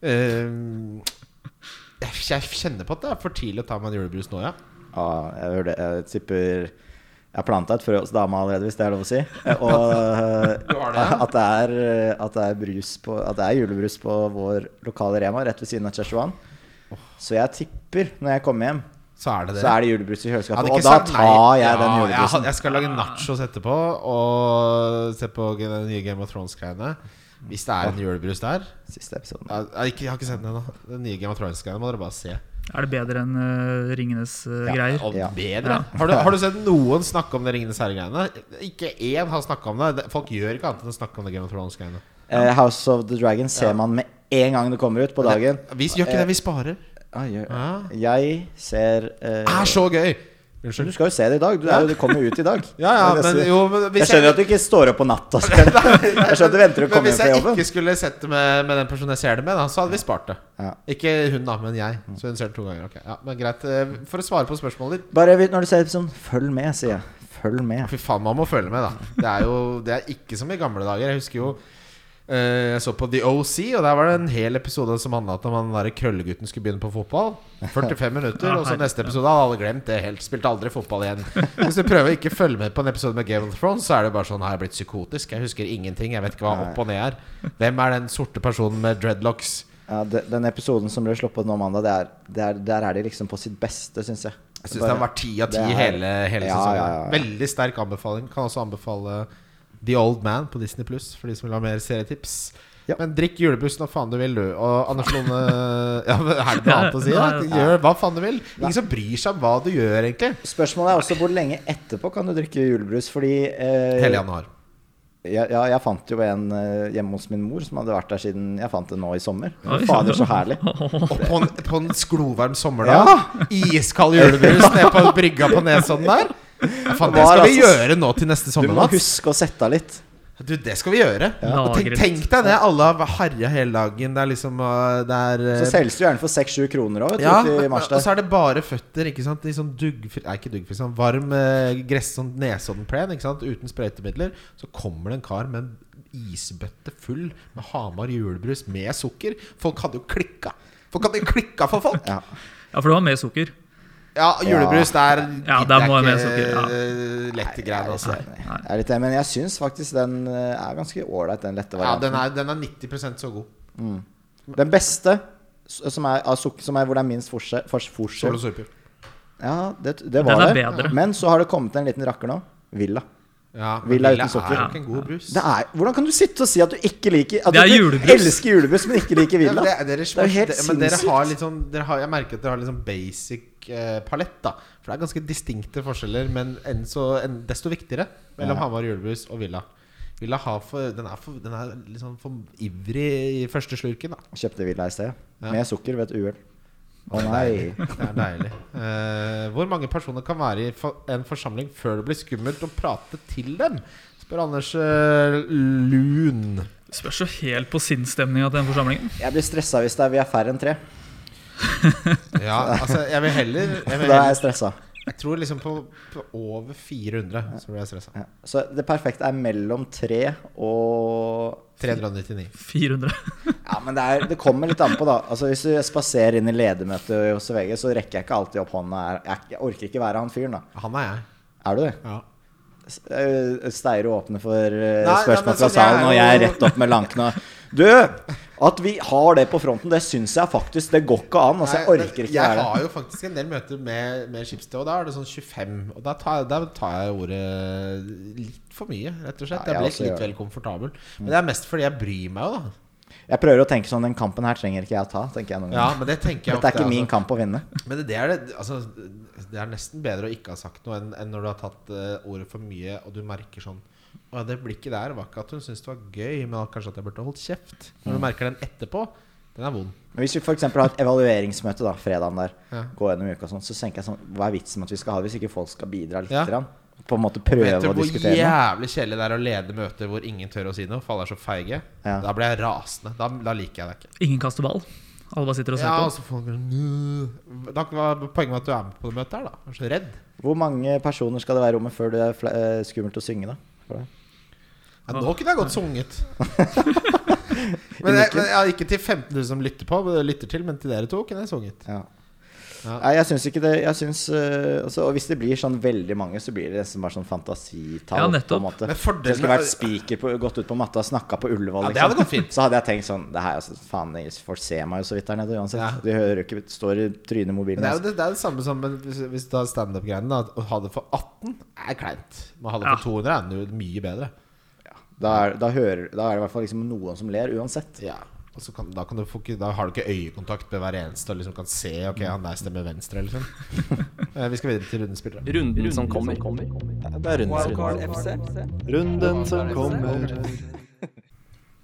S3: eh, eh, jeg jeg kjenner på at det er for tidlig å ta meg en julebrus nå, ja.
S1: Ja, jeg hører det. Jeg tipper Jeg har planta et frø hos dama allerede, hvis det er lov å si. Og
S3: Du har det,
S1: eh,
S3: ja.
S1: at det er, at det er, brus på, at det er julebrus på vår lokale Rema rett ved siden av Cheshuan. Så jeg tipper, når jeg kommer hjem,
S3: Så er det det.
S1: så er det julebrus i
S3: Jeg hadde
S1: kjøleskapet.
S3: ikke
S1: Og da
S3: sagt nei.
S1: tar jeg den
S3: Ja, Jeg,
S1: julebrusen.
S3: had- jeg skal lage nachos etterpå og se på g- den nye Game of Thrones-greiene. Hvis det er en julebrus der
S1: Siste episoden.
S3: Jeg, jeg, ikke- jeg har ikke sett den ennå. Den nye Game of Thrones-greiene må dere bare se.
S4: Er det bedre enn eh, Ringenes eh, greier?
S3: Og
S1: Ja.
S3: bedre.
S4: Ja.
S3: Har, du, har du sett noen snakke om det Ringenes herre-greiene? Ikke én har snakka om det. Det- Folk gjør ikke annet enn å snakke om det Game of Thrones-greiene.
S1: Eh, House of the Dragon ser man med en gang det kommer ut på dagen.
S3: Vi gjør ikke det, vi sparer.
S1: Oi, oi, oi.
S3: Ja.
S1: Jeg ser eh,
S3: Det er så gøy!
S1: Du
S3: Unnskyld.
S1: skal jo se det i dag. Du, er jo, det kommer jo ut i dag.
S3: Ja, ja,
S1: Det er
S3: men
S1: nesten-
S3: jo men hvis
S1: Jeg skjønner at du ikke står opp på natta. og ser det. Jeg skjønner at du venter å
S3: Men
S1: komme hjem
S3: hvis
S1: fra
S3: jeg
S1: jobben.
S3: ikke skulle sett det med, med den personen jeg ser det med, da, så hadde vi spart det.
S1: Ja.
S3: Ikke hun, da, men jeg. Så hun ser det to ganger. ok. Ja, men greit. Eh, For å svare på spørsmålet ditt
S1: Bare vet- når du ser sånn Følg med, sier jeg. Følg med.
S3: Fy faen, man må følge med, da. Det er jo det er ikke som i gamle dager. Jeg husker jo eh, jeg så på The OC, og der var det en hel episode som handla om han derre krøllegutten skulle begynne på fotball. 45 minutter, og så neste episode hadde alle glemt det helt. Spilte aldri fotball igjen. Hvis du prøver å ikke følge med på en episode med Game of Thrones, så er det jo bare sånn Har jeg blitt psykotisk? Jeg husker ingenting. Jeg vet ikke hva opp og ned er. Hvem er den sorte personen med dreadlocks?
S1: Ja, de- den episoden som ble sluppet nå mandag, det er, det er, der er de liksom på sitt beste, syns jeg.
S3: Jeg syns den var ti av ti
S1: Det er-
S3: hele, hele
S1: Ja,
S3: sesongen.
S1: ja, ja, ja.
S3: Veldig sterk anbefaling. Kan også anbefale The Old Man på Disney Pluss for de som vil ha mer serietips.
S1: Ja.
S3: Men drikk julebuss når faen du vil, du. Og Anders Lone ja, men Er det noe
S4: Ja,
S3: annet å si? da?
S4: nei,
S3: Gjør hva faen du vil. Ingen som bryr seg om hva du gjør, egentlig.
S1: Spørsmålet er også hvor lenge etterpå kan du drikke julebrus, fordi
S3: Hele
S1: eh,
S3: januar.
S1: jeg, ja, jeg fant jo en eh, hjemme hos min mor som hadde vært der siden jeg fant det nå i sommer.
S4: Oi.
S1: Fader, så herlig.
S3: Og på en, på en sklovarm sommerdag.
S1: Ja.
S3: Iskald julebrus nede på brygga på Nesodden der. Ja, faen, det skal vi gjøre nå til neste
S1: altså Du
S3: sommer,
S1: må
S3: Mats.
S1: huske å sette av litt.
S3: Du, det skal vi gjøre.
S4: Ja.
S3: Og tenk, tenk deg det. Alle har harja hele dagen. Det er liksom uh, Det er uh,
S1: Så selges du gjerne for 6-7 kroner òg,
S3: ja,
S1: ute i
S3: og
S1: mars der.
S3: så er det bare føtter. Ikke sant? I sånn duggfri Nei, ikke duggfri, sånn varm eh, gress, sånn Nesodden-plen, ikke sant? uten sprøytemidler. Så kommer det en kar med en isbøtte full med Hamar julebrus med sukker. Folk hadde jo klikka! Folk hadde jo klikka for folk!
S1: Ja.
S4: Ja, for det var mer sukker.
S3: Ja, julebrus, det er
S4: Ja,
S3: det
S4: der
S3: er
S4: må jeg med
S3: ikke,
S4: sukker, ja.
S3: eh, lette greier. Altså.
S1: Jeg er litt enig, men jeg syns faktisk den eh, er ganske ålreit, den lette
S3: Ja, den
S1: varianten.
S3: er, den er 90 så god.
S1: den, beste, s- eh, som er, av sukker, som er hvor det er minst forskjell, fors-
S3: Sol
S1: forskjell.
S3: og surpil.
S1: Ja, det, det
S4: Den
S1: var
S4: er
S1: det.
S4: bedre.
S1: Men så har det kommet en liten rakker nå. Villa.
S3: Ja, men
S1: Villa uten
S3: er
S1: sukker.
S3: jo ikke en god brus.
S1: Det er, hvordan kan du sitte og si at du ikke liker At
S4: Det er
S1: du
S4: julebrus.
S1: elsker julebrus, men ikke liker
S3: Ja,
S1: Villa?
S3: men det, dere,
S1: Det er jo helt
S3: det, men dere har
S1: sinnssykt.
S3: litt sånn dere har, Jeg merker at dere har litt sånn basic eh, palett. da For det er ganske distinkte forskjeller, men enn så, enn, desto viktigere mellom Hamar julebrus og Villa. Villa har for, den, er for, den er litt sånn for ivrig i første slurken. da
S1: Kjøpte Villa i sted.
S3: Ja.
S1: Med sukker ved et uhell. Å nei.
S3: Det er deilig. Eh, hvor mange personer kan være i for, en forsamling før det blir skummelt å prate til dem? Spør Anders eh, Lun.
S4: Spørs jo helt på sinnsstemninga til den forsamlingen.
S1: Jeg blir stressa hvis det er, vi er færre enn tre.
S3: Ja, altså, jeg vil heller Jeg,
S1: Da er
S3: vil heller,
S1: jeg stressa.
S3: jeg tror liksom på, på over 400 så blir jeg stressa.
S1: Ja. Så det perfekte er mellom tre og
S3: 399.
S4: 400.
S1: Ja, men det, er, det kommer litt an på, da. Altså, hvis du spaserer inn i ledermøtet hos VG, så rekker jeg ikke alltid opp hånda. Jeg, jeg orker ikke være han fyren, da.
S3: Han er jeg.
S1: Er du det?
S3: Ja.
S1: S- eh, Steiro åpner for eh,
S3: Nei, nei, men
S1: spørsmål fra
S3: så det er
S1: salen, og jeg er
S3: jo-
S1: rett opp med lankene. Du! At vi har det på fronten, det syns jeg faktisk. Det går ikke an. Altså, jeg orker ikke
S3: jeg
S1: være det.
S3: har jo faktisk en del møter med, med Schibsted, og da er det sånn 25. Og da tar, jeg- da tar jeg ordet litt for mye, rett og slett.
S1: Ja, jeg
S3: jeg blir
S1: også
S3: litt
S1: gjør det. Mm.
S3: vel komfortabel. Men det er mest fordi jeg bryr meg jo, da.
S1: Jeg prøver å tenke sånn Den kampen her trenger ikke jeg å ta, tenker jeg noen
S3: Ja,
S1: ganger.
S3: men det tenker jeg
S1: Dette er
S3: ofte,
S1: ikke min
S3: altså.
S1: kamp å vinne.
S3: Men det, det er det, altså, det er nesten bedre å ikke ha sagt noe enn, enn når du har tatt eh, ordet for mye, og du merker sånn Å, det blikket der var ikke at hun syntes det var gøy, men kanskje at jeg burde holdt kjeft. Når du
S1: Mm.
S3: merker den etterpå, den er vond.
S1: Men hvis vi f.eks. har et evalueringsmøte da, fredagen der,
S3: Ja.
S1: gå gjennom uka og sånn, så tenker jeg sånn Hva er vitsen med at vi skal ha det hvis ikke folk skal bidra litt?
S3: Ja.
S1: Grann? På en måte prøve
S3: Vet du
S1: å
S3: hvor
S1: diskutere noe?
S3: jævlig kjedelig det er å lede møter hvor ingen tør å si noe? For alle er så feige.
S1: Ja.
S3: Da blir jeg rasende. Da, da liker jeg deg ikke.
S4: Ingen kaster ball. Alle bare sitter og ser
S3: Ja, altså. og
S4: på.
S3: så får man sånn, Da var poenget med at du er med på det møtet her, da. Jeg Er så redd.
S1: Hvor mange personer skal det være i rommet før det er fla- eh, skummelt å synge, da? For deg?
S3: Ja, nå kunne jeg godt sunget. men jeg, men jeg, ikke til 15 000 som lytter på, lytter til, men til dere to kunne jeg sunget.
S1: Ja.
S3: Ja.
S1: Nei, jeg syns ikke det jeg synes, eh, altså, Og hvis det blir sånn veldig mange, så blir det nesten bare sånn fantasitall.
S4: Ja,
S1: på
S4: nettopp.
S1: en måte.
S3: Men fordelen-
S1: Hvis jeg skulle vært speaker, på, gått ut på matta og snakka på Ullevål,
S3: Ja, det hadde
S1: liksom,
S3: gått fint.
S1: så hadde jeg tenkt sånn det her, altså, Faen, de folk ser meg jo så vidt der nede uansett.
S3: Ja.
S1: De hører jo ikke står i trynet i
S3: Men
S1: mobilen.
S3: det er
S1: Altså.
S3: jo det, det, er det samme som men hvis, hvis du har standup-greiene. da, Å ha det for 18 er kleint. Men å ha det for 200 er jo mye bedre.
S1: Da, er, da, hører, da er det i hvert fall liksom noen som ler uansett.
S3: Ja, og så kan, da, kan du få, ikke- da har du ikke øyekontakt med hver eneste og liksom kan se Ok, han der stemmer venstre, eller sånn. Eh, Vi skal videre til rundens spillere.
S5: Runden som kommer. Det er runden. Runden som kommer.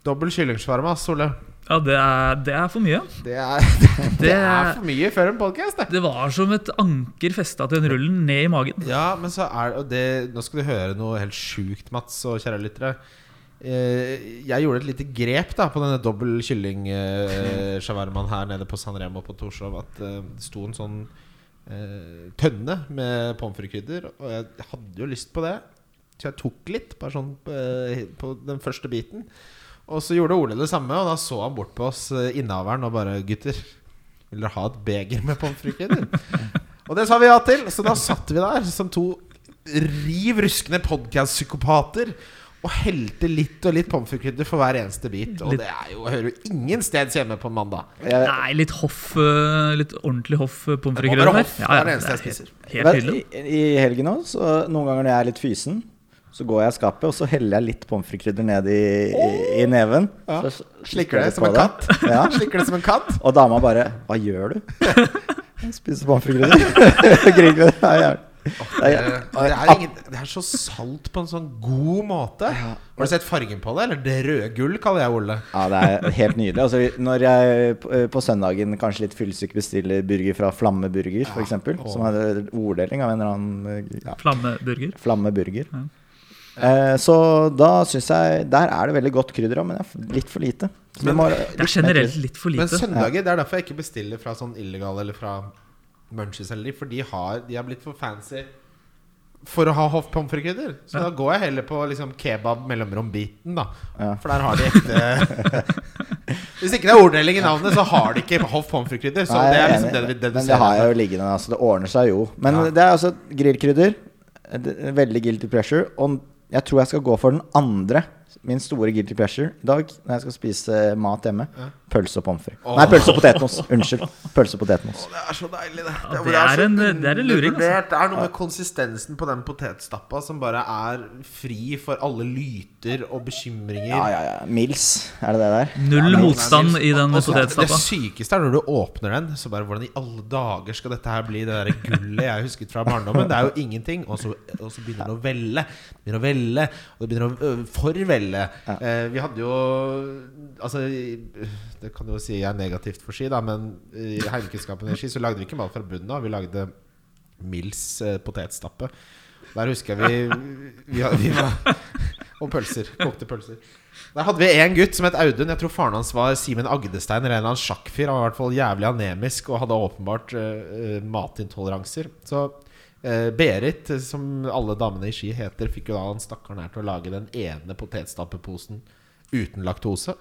S3: Dobbel kyllingsvarme, ass, Ole.
S4: Ja, det er, det er for mye.
S3: Det er,
S4: Det,
S3: for mye før en podkast, det.
S4: det var som et anker festa til den rullen ned i magen.
S3: Ja, men så er og det Nå skal du høre noe helt sjukt, Mats og kjære lyttere. Eh, Jeg gjorde et lite grep da på denne dobbel kylling-shawarmaen her nede på San Remo på Torshov. At eh, det sto en sånn eh, tønne med pommes frites-krydder, og jeg hadde jo lyst på det. Så jeg tok litt, bare sånn eh, på den første biten. Og så gjorde Ole det samme, og da så han bort på oss eh, innehaveren og bare 'Gutter, vil dere ha et beger med pommes frites?' og det sa vi ja til, så da satt vi der som to riv ruskende podkast-psykopater. Og helte litt og litt pommes frites-krydder for hver eneste bit. Og det er jo, hører jo ingen steds hjemme på en mandag.
S1: Jeg,
S4: Nei, litt hoff eh, Litt ordentlig hoff eh, pommes
S3: Det
S4: frites.
S3: må være
S4: der.
S3: hoff, det er det eneste jeg
S4: helt-
S3: spiser.
S4: Helt
S1: vet,
S4: tydelig.
S1: i, I helgen òg, så noen ganger når jeg er litt fysen, så går jeg i skapet, og så heller jeg litt pommes frites-krydder ned i, i, i neven.
S3: Ja.
S1: Så
S3: Slikker
S1: jeg
S3: det
S1: litt
S3: som
S1: på
S3: en katt.
S1: Ja.
S3: Slikker det som en katt.
S1: Og dama bare Hva gjør du? Jeg spiser pommes frites. Grillkrydder. Ja, ja.
S3: Det, Eh, det, er ingen, det er så salt på en sånn god måte. Har du sett fargen på det? Eller det røde gull, kaller jeg Ole.
S1: Ja, det er helt nydelig. Altså, vi- når jeg p- eh, på søndagen kanskje litt fyllesyk bestiller burger fra Flamme Burger, for eksempel
S3: åh.
S1: som er orddeling av en eller annen eh, ja,
S4: Flammeburger.
S1: Flamme Burger. Eh, så da syns jeg Der er det veldig godt krydder òg, men det er f- litt for lite. Så vi må-
S4: Det er generelt litt for
S3: Men
S4: lite.
S3: søndager, det er derfor jeg ikke bestiller fra sånn illegale eller fra Munchies eller de, for de har De er blitt for fancy for å ha hoff pommes frites-krydder. Så da går jeg heller på liksom kebab mellomrom-biten, da.
S1: Ja.
S3: For der har de ekte Hvis ikke det er orddeling i navnet, så har de ikke hoff pommes frites-krydder. Så
S1: Nei,
S3: det
S1: jeg
S3: er
S1: er
S3: liksom det,
S1: enig.
S3: vi- det du
S1: Men
S3: ser.
S1: det har jeg
S3: her.
S1: jo liggende. Altså, det ordner seg jo. Men
S3: Ja.
S1: det er altså grillkrydder. eh, det- Veldig guilty pressure. Og jeg tror jeg skal gå for den andre. Min store guilty pressure i dag når jeg skal spise mat hjemme. Pølse og pommes frites. Nei, pølse og potetmos. Unnskyld. Pølse og potetmos.
S3: Det er så deilig, det.
S4: Ja, det er en- det er en luring, altså.
S3: undervurdert. Det er noe med konsistensen på den potetstappa som bare er fri for alle lyter og bekymringer.
S1: Ja, ja, ja. Mils, er det det der?
S4: Null motstand i den
S3: Og så-
S4: potetstappa.
S3: altså, Det sykeste er når du åpner den, så bare hvordan i alle dager skal dette her bli det der gullet jeg husket fra barndommen? Det er jo ingenting. Og så, og så begynner det å velle. Det Begynner å velle, og det begynner å ø, forvelle. Eh, vi hadde jo Altså, i- det kan jo si jeg er negativt for ski, da, men i heimkunnskapen i ski så lagde vi ikke mat fra bunnen av. Vi lagde Mils eh, potetstappe. Der husker jeg vi, vi, vi var og pølser. Kokte pølser. Der hadde vi en gutt som het Audun. Jeg tror faren hans var Simen Agdestein eller en eller annen sjakkfyr. Han var i hvert fall jævlig anemisk og hadde åpenbart eh, eh, matintoleranser. Så eh, Berit, eh, som alle damene i Ski heter, fikk jo da han stakkaren her til å lage den ene potetstappeposen uten laktose.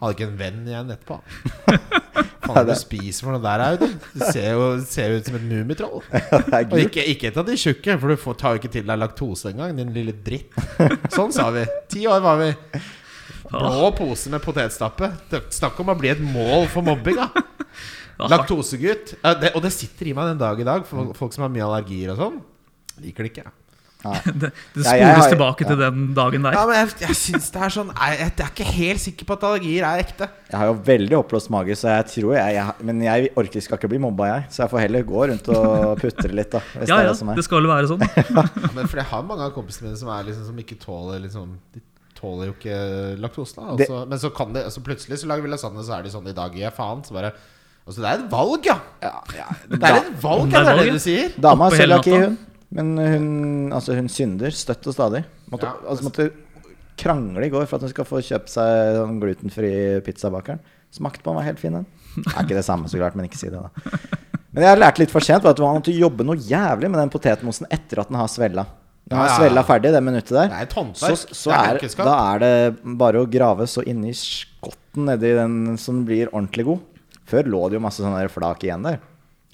S3: Hadde ikke en venn igjen etterpå. Faen, hva du spiser for noe der, Audun? Du ser jo ser jo ut som et mummitroll.
S1: Det er
S3: Og
S1: gull.
S3: ikke, ikke et av de tjukke, for du får, tar jo ikke til deg laktose engang, din lille dritt. Sånn sa vi. Ti år var vi. Blå pose med potetstappe. Det- Snakk om å bli et mål for mobbing, da. Laktosegutt. Ja, det- Og det sitter i meg den dag i dag, for folk som har mye allergier og sånn. Liker det ikke. jeg.
S4: Det, det
S1: Ja, jeg har-
S4: spores tilbake til den dagen der.
S3: Ja, men jeg, jeg syns det er sånn jeg, jeg er ikke helt sikker på at allergier er ekte.
S1: Jeg har jo veldig oppblåst mage, så jeg tror jeg, jeg Men jeg orker skal ikke bli mobba, jeg. Så jeg får heller gå rundt og putre litt, da. Hvis
S4: Ja,
S1: det er
S4: ja,
S1: det som er.
S4: det skal vel være sånn.
S3: Ja, men for jeg har mange av kompisene mine som, er liksom, som ikke tåler liksom, De tåler jo ikke laktose. Da, og
S1: Det-
S3: så- men så kan de altså, plutselig så lager vi lasagne, så er de sånn i dag gir jeg faen. Så bare Altså, det er et valg, ja! Det er
S1: Da-
S3: et valg,
S4: Det
S3: ja,
S4: er
S3: det er
S4: valg,
S3: det
S4: ja.
S3: du sier.
S1: Dama
S4: Oppe
S1: er
S4: hele
S1: cøliaki,
S4: natta.
S1: hun. Men hun, altså, hun synder støtt og stadig. Måtte,
S3: Ja.
S1: altså, måtte krangle i går for at hun skal få kjøpt seg sånn glutenfri pizzabakeren. Smakte på den, var helt fin, den. Det er ikke det samme, så klart, men ikke si det, da. Men jeg lærte litt for sent var at man måtte jobbe noe jævlig med den potetmosen etter at den har svella. Når den har
S3: Ja, ja, ja.
S1: svella ferdig det minuttet der,
S3: Det er et
S1: så,
S3: håndverk.
S1: så
S3: det er
S1: er,
S3: kunnskap.
S1: da er det bare å grave så inni skotten nedi den som blir ordentlig god. Før lå det jo masse sånne der flak igjen der.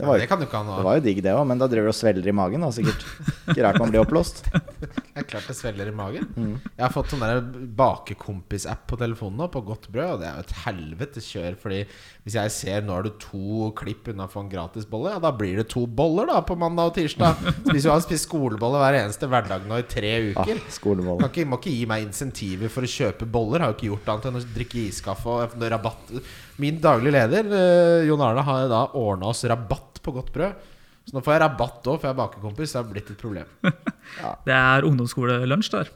S3: Ja,
S1: Det var jo
S3: det kan du ikke ha
S1: det
S3: nå.
S1: var jo digg det òg, men da driver du og svelger i magen. da, sikkert. Ikke rart man blir oppblåst.
S3: Det er klart det svelger i magen. Jeg har fått sånn der bakekompis-app på telefonen nå, på godt brød, og det er jo et helvete kjør, fordi hvis jeg ser nå er du to klipp unna å få en gratis bolle, ja, da blir det to boller da på mandag og tirsdag. Spiser jo han spiser skolebolle hver eneste hverdag nå i tre
S1: Ah,
S3: uker. Kan
S1: Skolebolle.
S3: ikke, må ikke gi meg insentiver for å kjøpe boller. Har jo ikke gjort annet enn å drikke iskaffe og noe rabatt. Min daglige leder, eh, Jon Arne, har da ordna oss rabatt på godt brød. Så nå får jeg rabatt òg, for jeg er bakekompis. Det har blitt et problem.
S4: Det er ungdomsskolelunsj der.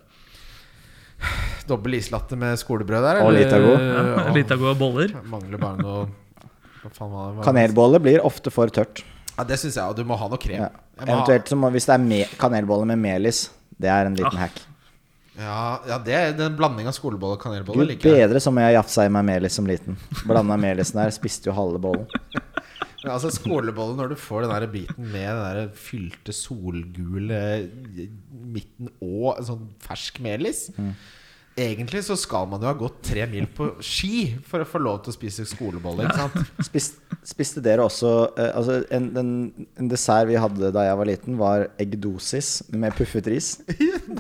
S3: Dobbel islatte med skolebrød der.
S1: Og
S3: eller?
S1: Litago.
S3: Ja, og-
S4: Lita gode boller.
S3: Mangler bare noe Hva faen var det?
S1: Kanelbolle blir ofte for tørt.
S3: Ja, det syns jeg. Og du må ha noe krem.
S1: Ja.
S3: Jeg må ha-
S1: Eventuelt så må, hvis det er me kanelbolle med melis. Det er en liten hack.
S3: Ja, ja det er den blanding av skolebolle og kanelbolle
S1: Gud
S3: liker jeg.
S1: bedre som jeg jafsa i meg melis som liten. Blanda melisen der, spiste jo halve bollen.
S3: Men altså Skolebolle når du får den der biten med den der fylte solgule midten og en sånn fersk melis
S1: Mm.
S3: Egentlig så skal man jo ha gått tre mil på ski for å få lov til å spise skolebolle. Ikke sant?
S1: Spis, spiste dere også eh, altså en, en, en dessert vi hadde da jeg var liten, var eggdosis med puffet ris.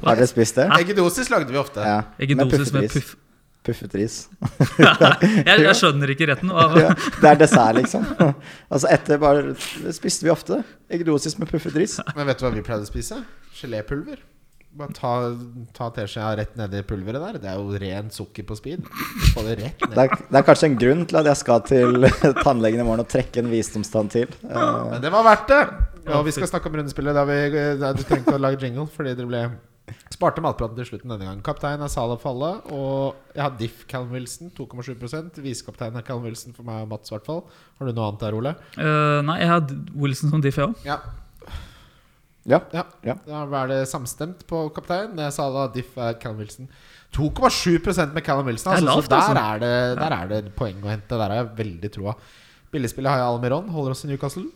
S1: Har dere spist det?
S3: Eggedosis lagde vi ofte.
S1: Ja,
S4: Eggedosis med
S1: puffet ris.
S4: puff.
S1: Puffet ris.
S4: Jeg, jeg skjønner ikke retten. Hva-
S1: Ja, det er dessert, liksom. Altså etter bare det spiste vi ofte. Eggedosis med puffet ris.
S3: Men vet du hva vi pleide å spise? Gelépulver. Bare ta, ta teskjea rett nedi pulveret der. Det er jo ren sukker på speed. Få det rett
S1: Det
S3: ned.
S1: er, det er kanskje en grunn til at jeg skal til tannlegen i morgen og trekke en visdomstann til. Eh,
S3: Men det var verdt det! Ja, og vi skal snakke om rundespillet. Da vi, da du trengte å lage jingle fordi dere ble Sparte matpraten til slutten denne gangen. Kaptein er Salah Falle. Og jeg har Diff Callum Wilson, 2,7 Visekaptein er Callum Wilson for meg og Mats, i hvert fall. Har du noe annet der, Ole?
S4: Eh, nei, jeg har Wilson som E diff, jeg òg.
S3: Ja.
S1: Ja.
S3: ja.
S1: Ja.
S3: Da er det samstemt på kaptein. Det er Salah, Diff er Callum Wilson. 2,7 med Callum Wilson.
S4: Det
S3: Altså,
S4: er lavt,
S3: så der,
S4: altså.
S3: er det, der er det poeng å hente. Der har jeg veldig troa. Billigspillet har jeg Almiron. Holder oss i Newcastle.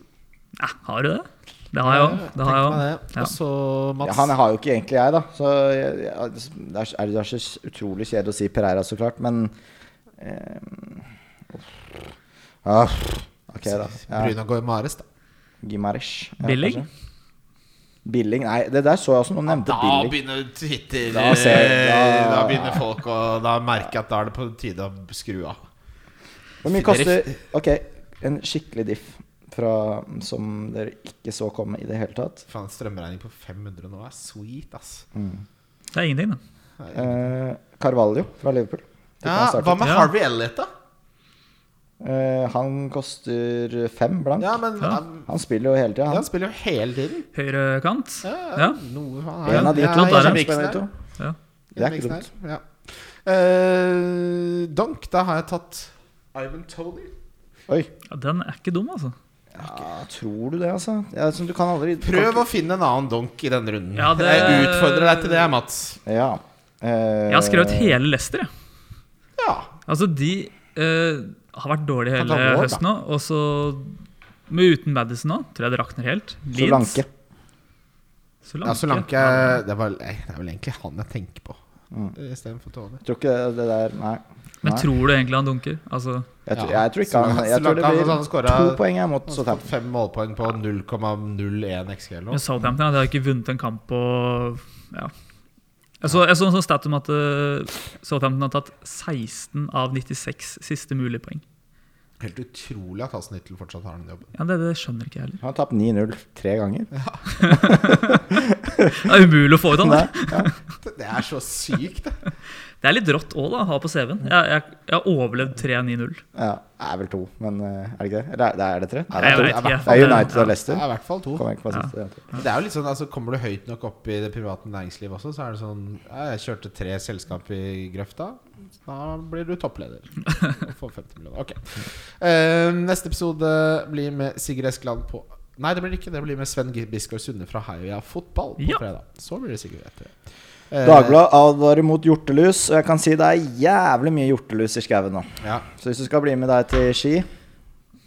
S4: Eh, har du det? Det har jeg òg. Det har jeg
S3: Tenk
S4: også.
S3: meg det.
S4: Ja.
S3: Og så
S1: Ja,
S3: Mats.
S1: han har jo ikke egentlig jeg, da. Så jeg, jeg, det, er, er- det er så utrolig kjedelig å si Pereira, så klart, men eh, ah, Ok, da. Ja.
S3: Bruno Goimares, da.
S1: Gimaresh. Ja,
S4: Billig?
S1: kanskje. Billing? Nei, det der så jeg også noen
S3: Ah,
S1: nevnte Billig.
S3: begynner Twitter
S1: Da ser- da-
S3: da begynner folk å Da merker jeg at da er det på tide å skru av.
S1: Hvor mye koster Ok, en skikkelig diff fra, som dere ikke så komme i det hele tatt.
S3: Faen, strømregning på 500 nå er sweet, ass.
S1: Mm.
S4: Det er ingenting, det.
S1: Eh, Carvalho fra Liverpool. Tipper han
S3: Ja,
S1: starter.
S3: hva med
S4: Ja.
S3: Harvey Elliot, da?
S1: Eh, han koster fem blank.
S3: Ja, men
S4: Ja.
S3: Han,
S1: Han spiller jo hele tida,
S3: han
S1: han.
S3: spiller jo hele tiden.
S4: Høyrekant.
S3: Ja,
S4: Ja.
S3: Noe, han
S1: En av de
S3: ja,
S1: to.
S4: klart det er
S1: Ja,
S4: en
S1: de to.
S4: Ja.
S1: Det er ikke dumt.
S3: Ja. Eh, Donk, da har jeg tatt Ivan Tony.
S1: Oi.
S4: ja, Den er ikke dum, altså.
S1: Ja, tror du det, altså? Ja, som du kan aldri
S3: Prøv å finne en annen donk i denne runden.
S4: Ja, det-
S3: Jeg utfordrer deg til det, Mats.
S1: Ja. Eh,
S4: Jeg har skrevet hele Leicester, jeg.
S3: Ja,
S4: Altså, de eh, har vært dårlige
S3: Kan ta
S4: hele
S3: Ward, da.
S4: høsten nå. Og så med uten Madison nå, tror jeg det rakner helt.
S1: Solanke.
S3: ja Solanke
S4: Ja.
S3: altså, det, var, nei, det er vel egentlig han jeg tenker på.
S1: Mm.
S3: eh, Istedenfor Tony.
S1: Tror ikke det, det der Nei.
S4: Men
S1: Nei.
S4: tror du egentlig han dunker? Altså,
S1: Jeg, tror-
S3: Ja.
S1: jeg tror ikke han Jeg tror det
S3: Solanke, han- han
S1: blir
S3: scoret-
S1: to poeng jeg mot
S3: Fått
S1: Southampton.
S3: fem målpoeng på 0,01 XG eller
S4: men
S3: noe.
S4: Southampton ja, de har ikke vunnet en kamp på ja. Jeg så, jeg så en sånn stat om at eh, Southampton har tatt 16 av 96 siste mulige poeng.
S3: Helt utrolig at Hassen Hittel fortsatt har den jobben.
S4: Ja, det, det skjønner ikke jeg heller.
S1: Han har tapt 9-0 tre ganger.
S4: Det er umulig å få ut han.
S1: Nei.
S4: det.
S3: Det er så sykt, det.
S4: Det er litt rått òg, da, å ha på CV-en. Jeg, jeg, jeg har overlevd 3-9-0.
S1: Ja, det er vel to, men eh, er det ikke det? Eller er- det? Er det tre? Nei, det
S4: Jeg
S1: er,
S4: vet
S1: to.
S4: ikke.
S1: Det er United og
S4: Ja.
S3: Det
S1: Leicester.
S3: er i hvert fall to.
S1: Kommer jeg ikke på siste. Ja.
S3: Men Det er jo litt sånn, altså Kommer du høyt nok opp i det private næringsliv også, så er det sånn ja, Jeg kjørte tre selskap i grøfta. Da blir du toppleder. Og får 50 millioner. Ok. Eh, neste episode blir med Sigurd Eskeland på Nei, det blir det ikke. Det blir med Sven Biskår Sunde fra Heia Fotball på
S4: Ja.
S3: fredag. Så blir det Sigurd etter det. Eh,
S1: Dagbladet advarer mot hjortelus, og jeg kan si det er jævlig mye hjortelus i skauen nå.
S3: Ja.
S1: Så hvis du skal bli med deg til ski,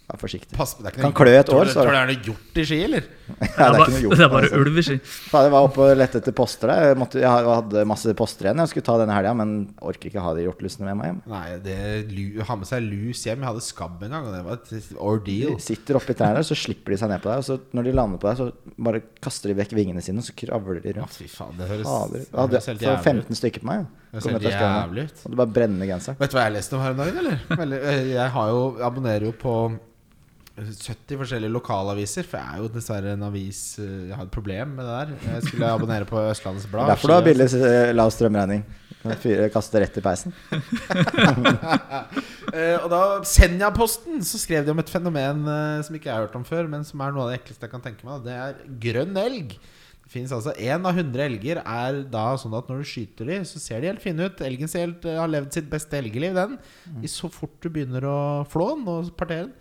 S1: vær forsiktig.
S3: Pass på, det er ikke
S1: Kan
S3: noe-
S1: klø et år,
S3: Tror du-
S1: sa du.
S3: Tror du det er noe gjort i ski, eller?
S4: Det
S1: Ja,
S4: er
S1: ikke noe
S4: bare,
S1: hjort,
S4: det er bare
S1: altså.
S4: ulv i ski.
S1: Faen, jeg var oppe og lette etter poster der. Jeg, måtte, jeg hadde masse poster igjen. Jeg skulle ta denne helga, men orker ikke ha de hjortelusene med meg hjem.
S3: Nei, det lu- ha med seg lus hjem. Jeg hadde skabb en gang, og det var et ordeal.
S1: De sitter oppi trærne, så slipper de seg ned på deg. Og så når de lander på deg, så bare kaster de vekk vingene sine, og så kravler de
S3: Ja,
S1: rundt.
S3: fy faen, det høres,
S1: Fader.
S3: det
S1: Jeg hadde
S3: høres helt
S1: så
S3: jævlig ut.
S1: 15 stykker på meg.
S3: Det
S1: ja.
S3: ser
S1: Kom etter skauen.
S3: jævlig ut.
S1: Og det bare brenner genseren.
S3: Vet du hva jeg leste om her om dagen, eller? Veldig- eh, Jeg har jo, abonnerer jo på 70 forskjellige lokalaviser, for jeg er jo dessverre en avis eh, Jeg har et problem med det der. Jeg skulle abonnere på Østlandets
S1: Det
S3: Blad.
S1: er Derfor du har billig eh, lav strømregning. Kan fyre- Kaste rett i peisen.
S3: Eh, og da Senja-posten så skrev de om et fenomen eh, som ikke jeg har hørt om før, men som er noe av det ekleste jeg kan tenke meg. Det er grønn elg. Det finnes altså Én av 100 elger er da sånn at når du skyter dem, så ser de helt fine ut. Elgen ser helt, eh, har levd sitt beste elgeliv, den. I Så fort du begynner å flå den og partere den,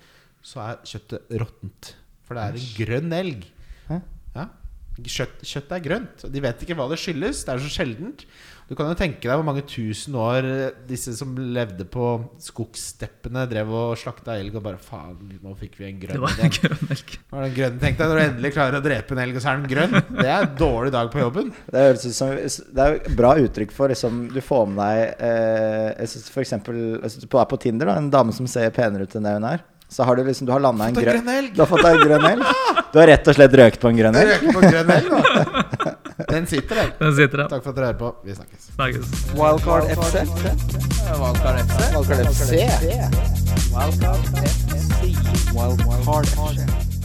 S3: så er kjøttet råttent. For det er en grønn elg.
S1: Hæ?
S3: Ja. Kjøtt, kjøttet er grønt. og De vet ikke hva det skyldes. Det er så sjeldent. Du kan jo tenke deg hvor mange tusen år eh, disse som levde på skogssteppene, drev og slakta elg og bare Faen, nå fikk vi en
S4: Det
S3: grønn
S4: var
S3: igjen.
S4: grønn elg.
S3: Var den grønne, tenkte jeg, Når du endelig klarer å drepe en elg, og så er den grønn. Det er en dårlig dag på jobben.
S1: Det høres ut som Det er jo et bra uttrykk for liksom Du får med deg eh, jeg synes For eksempel jeg synes på, er på Tinder, da, en dame som ser penere ut enn det hun er. Så har du liksom Du har landa en
S3: Fått en
S1: grønn
S3: grønn elg.
S1: Du har fått deg en grønn elg. Du har rett og slett røkt på en grønn elg.
S3: Røker på grønn elg, da. Den sitter, den.
S4: Den sitter der.
S3: Takk for at dere hører på. Vi snakkes.
S4: Snakkes.
S2: Wildcard FC. Wildcard FC. Wildcard FC. Wildcard FC. Wildcard FC.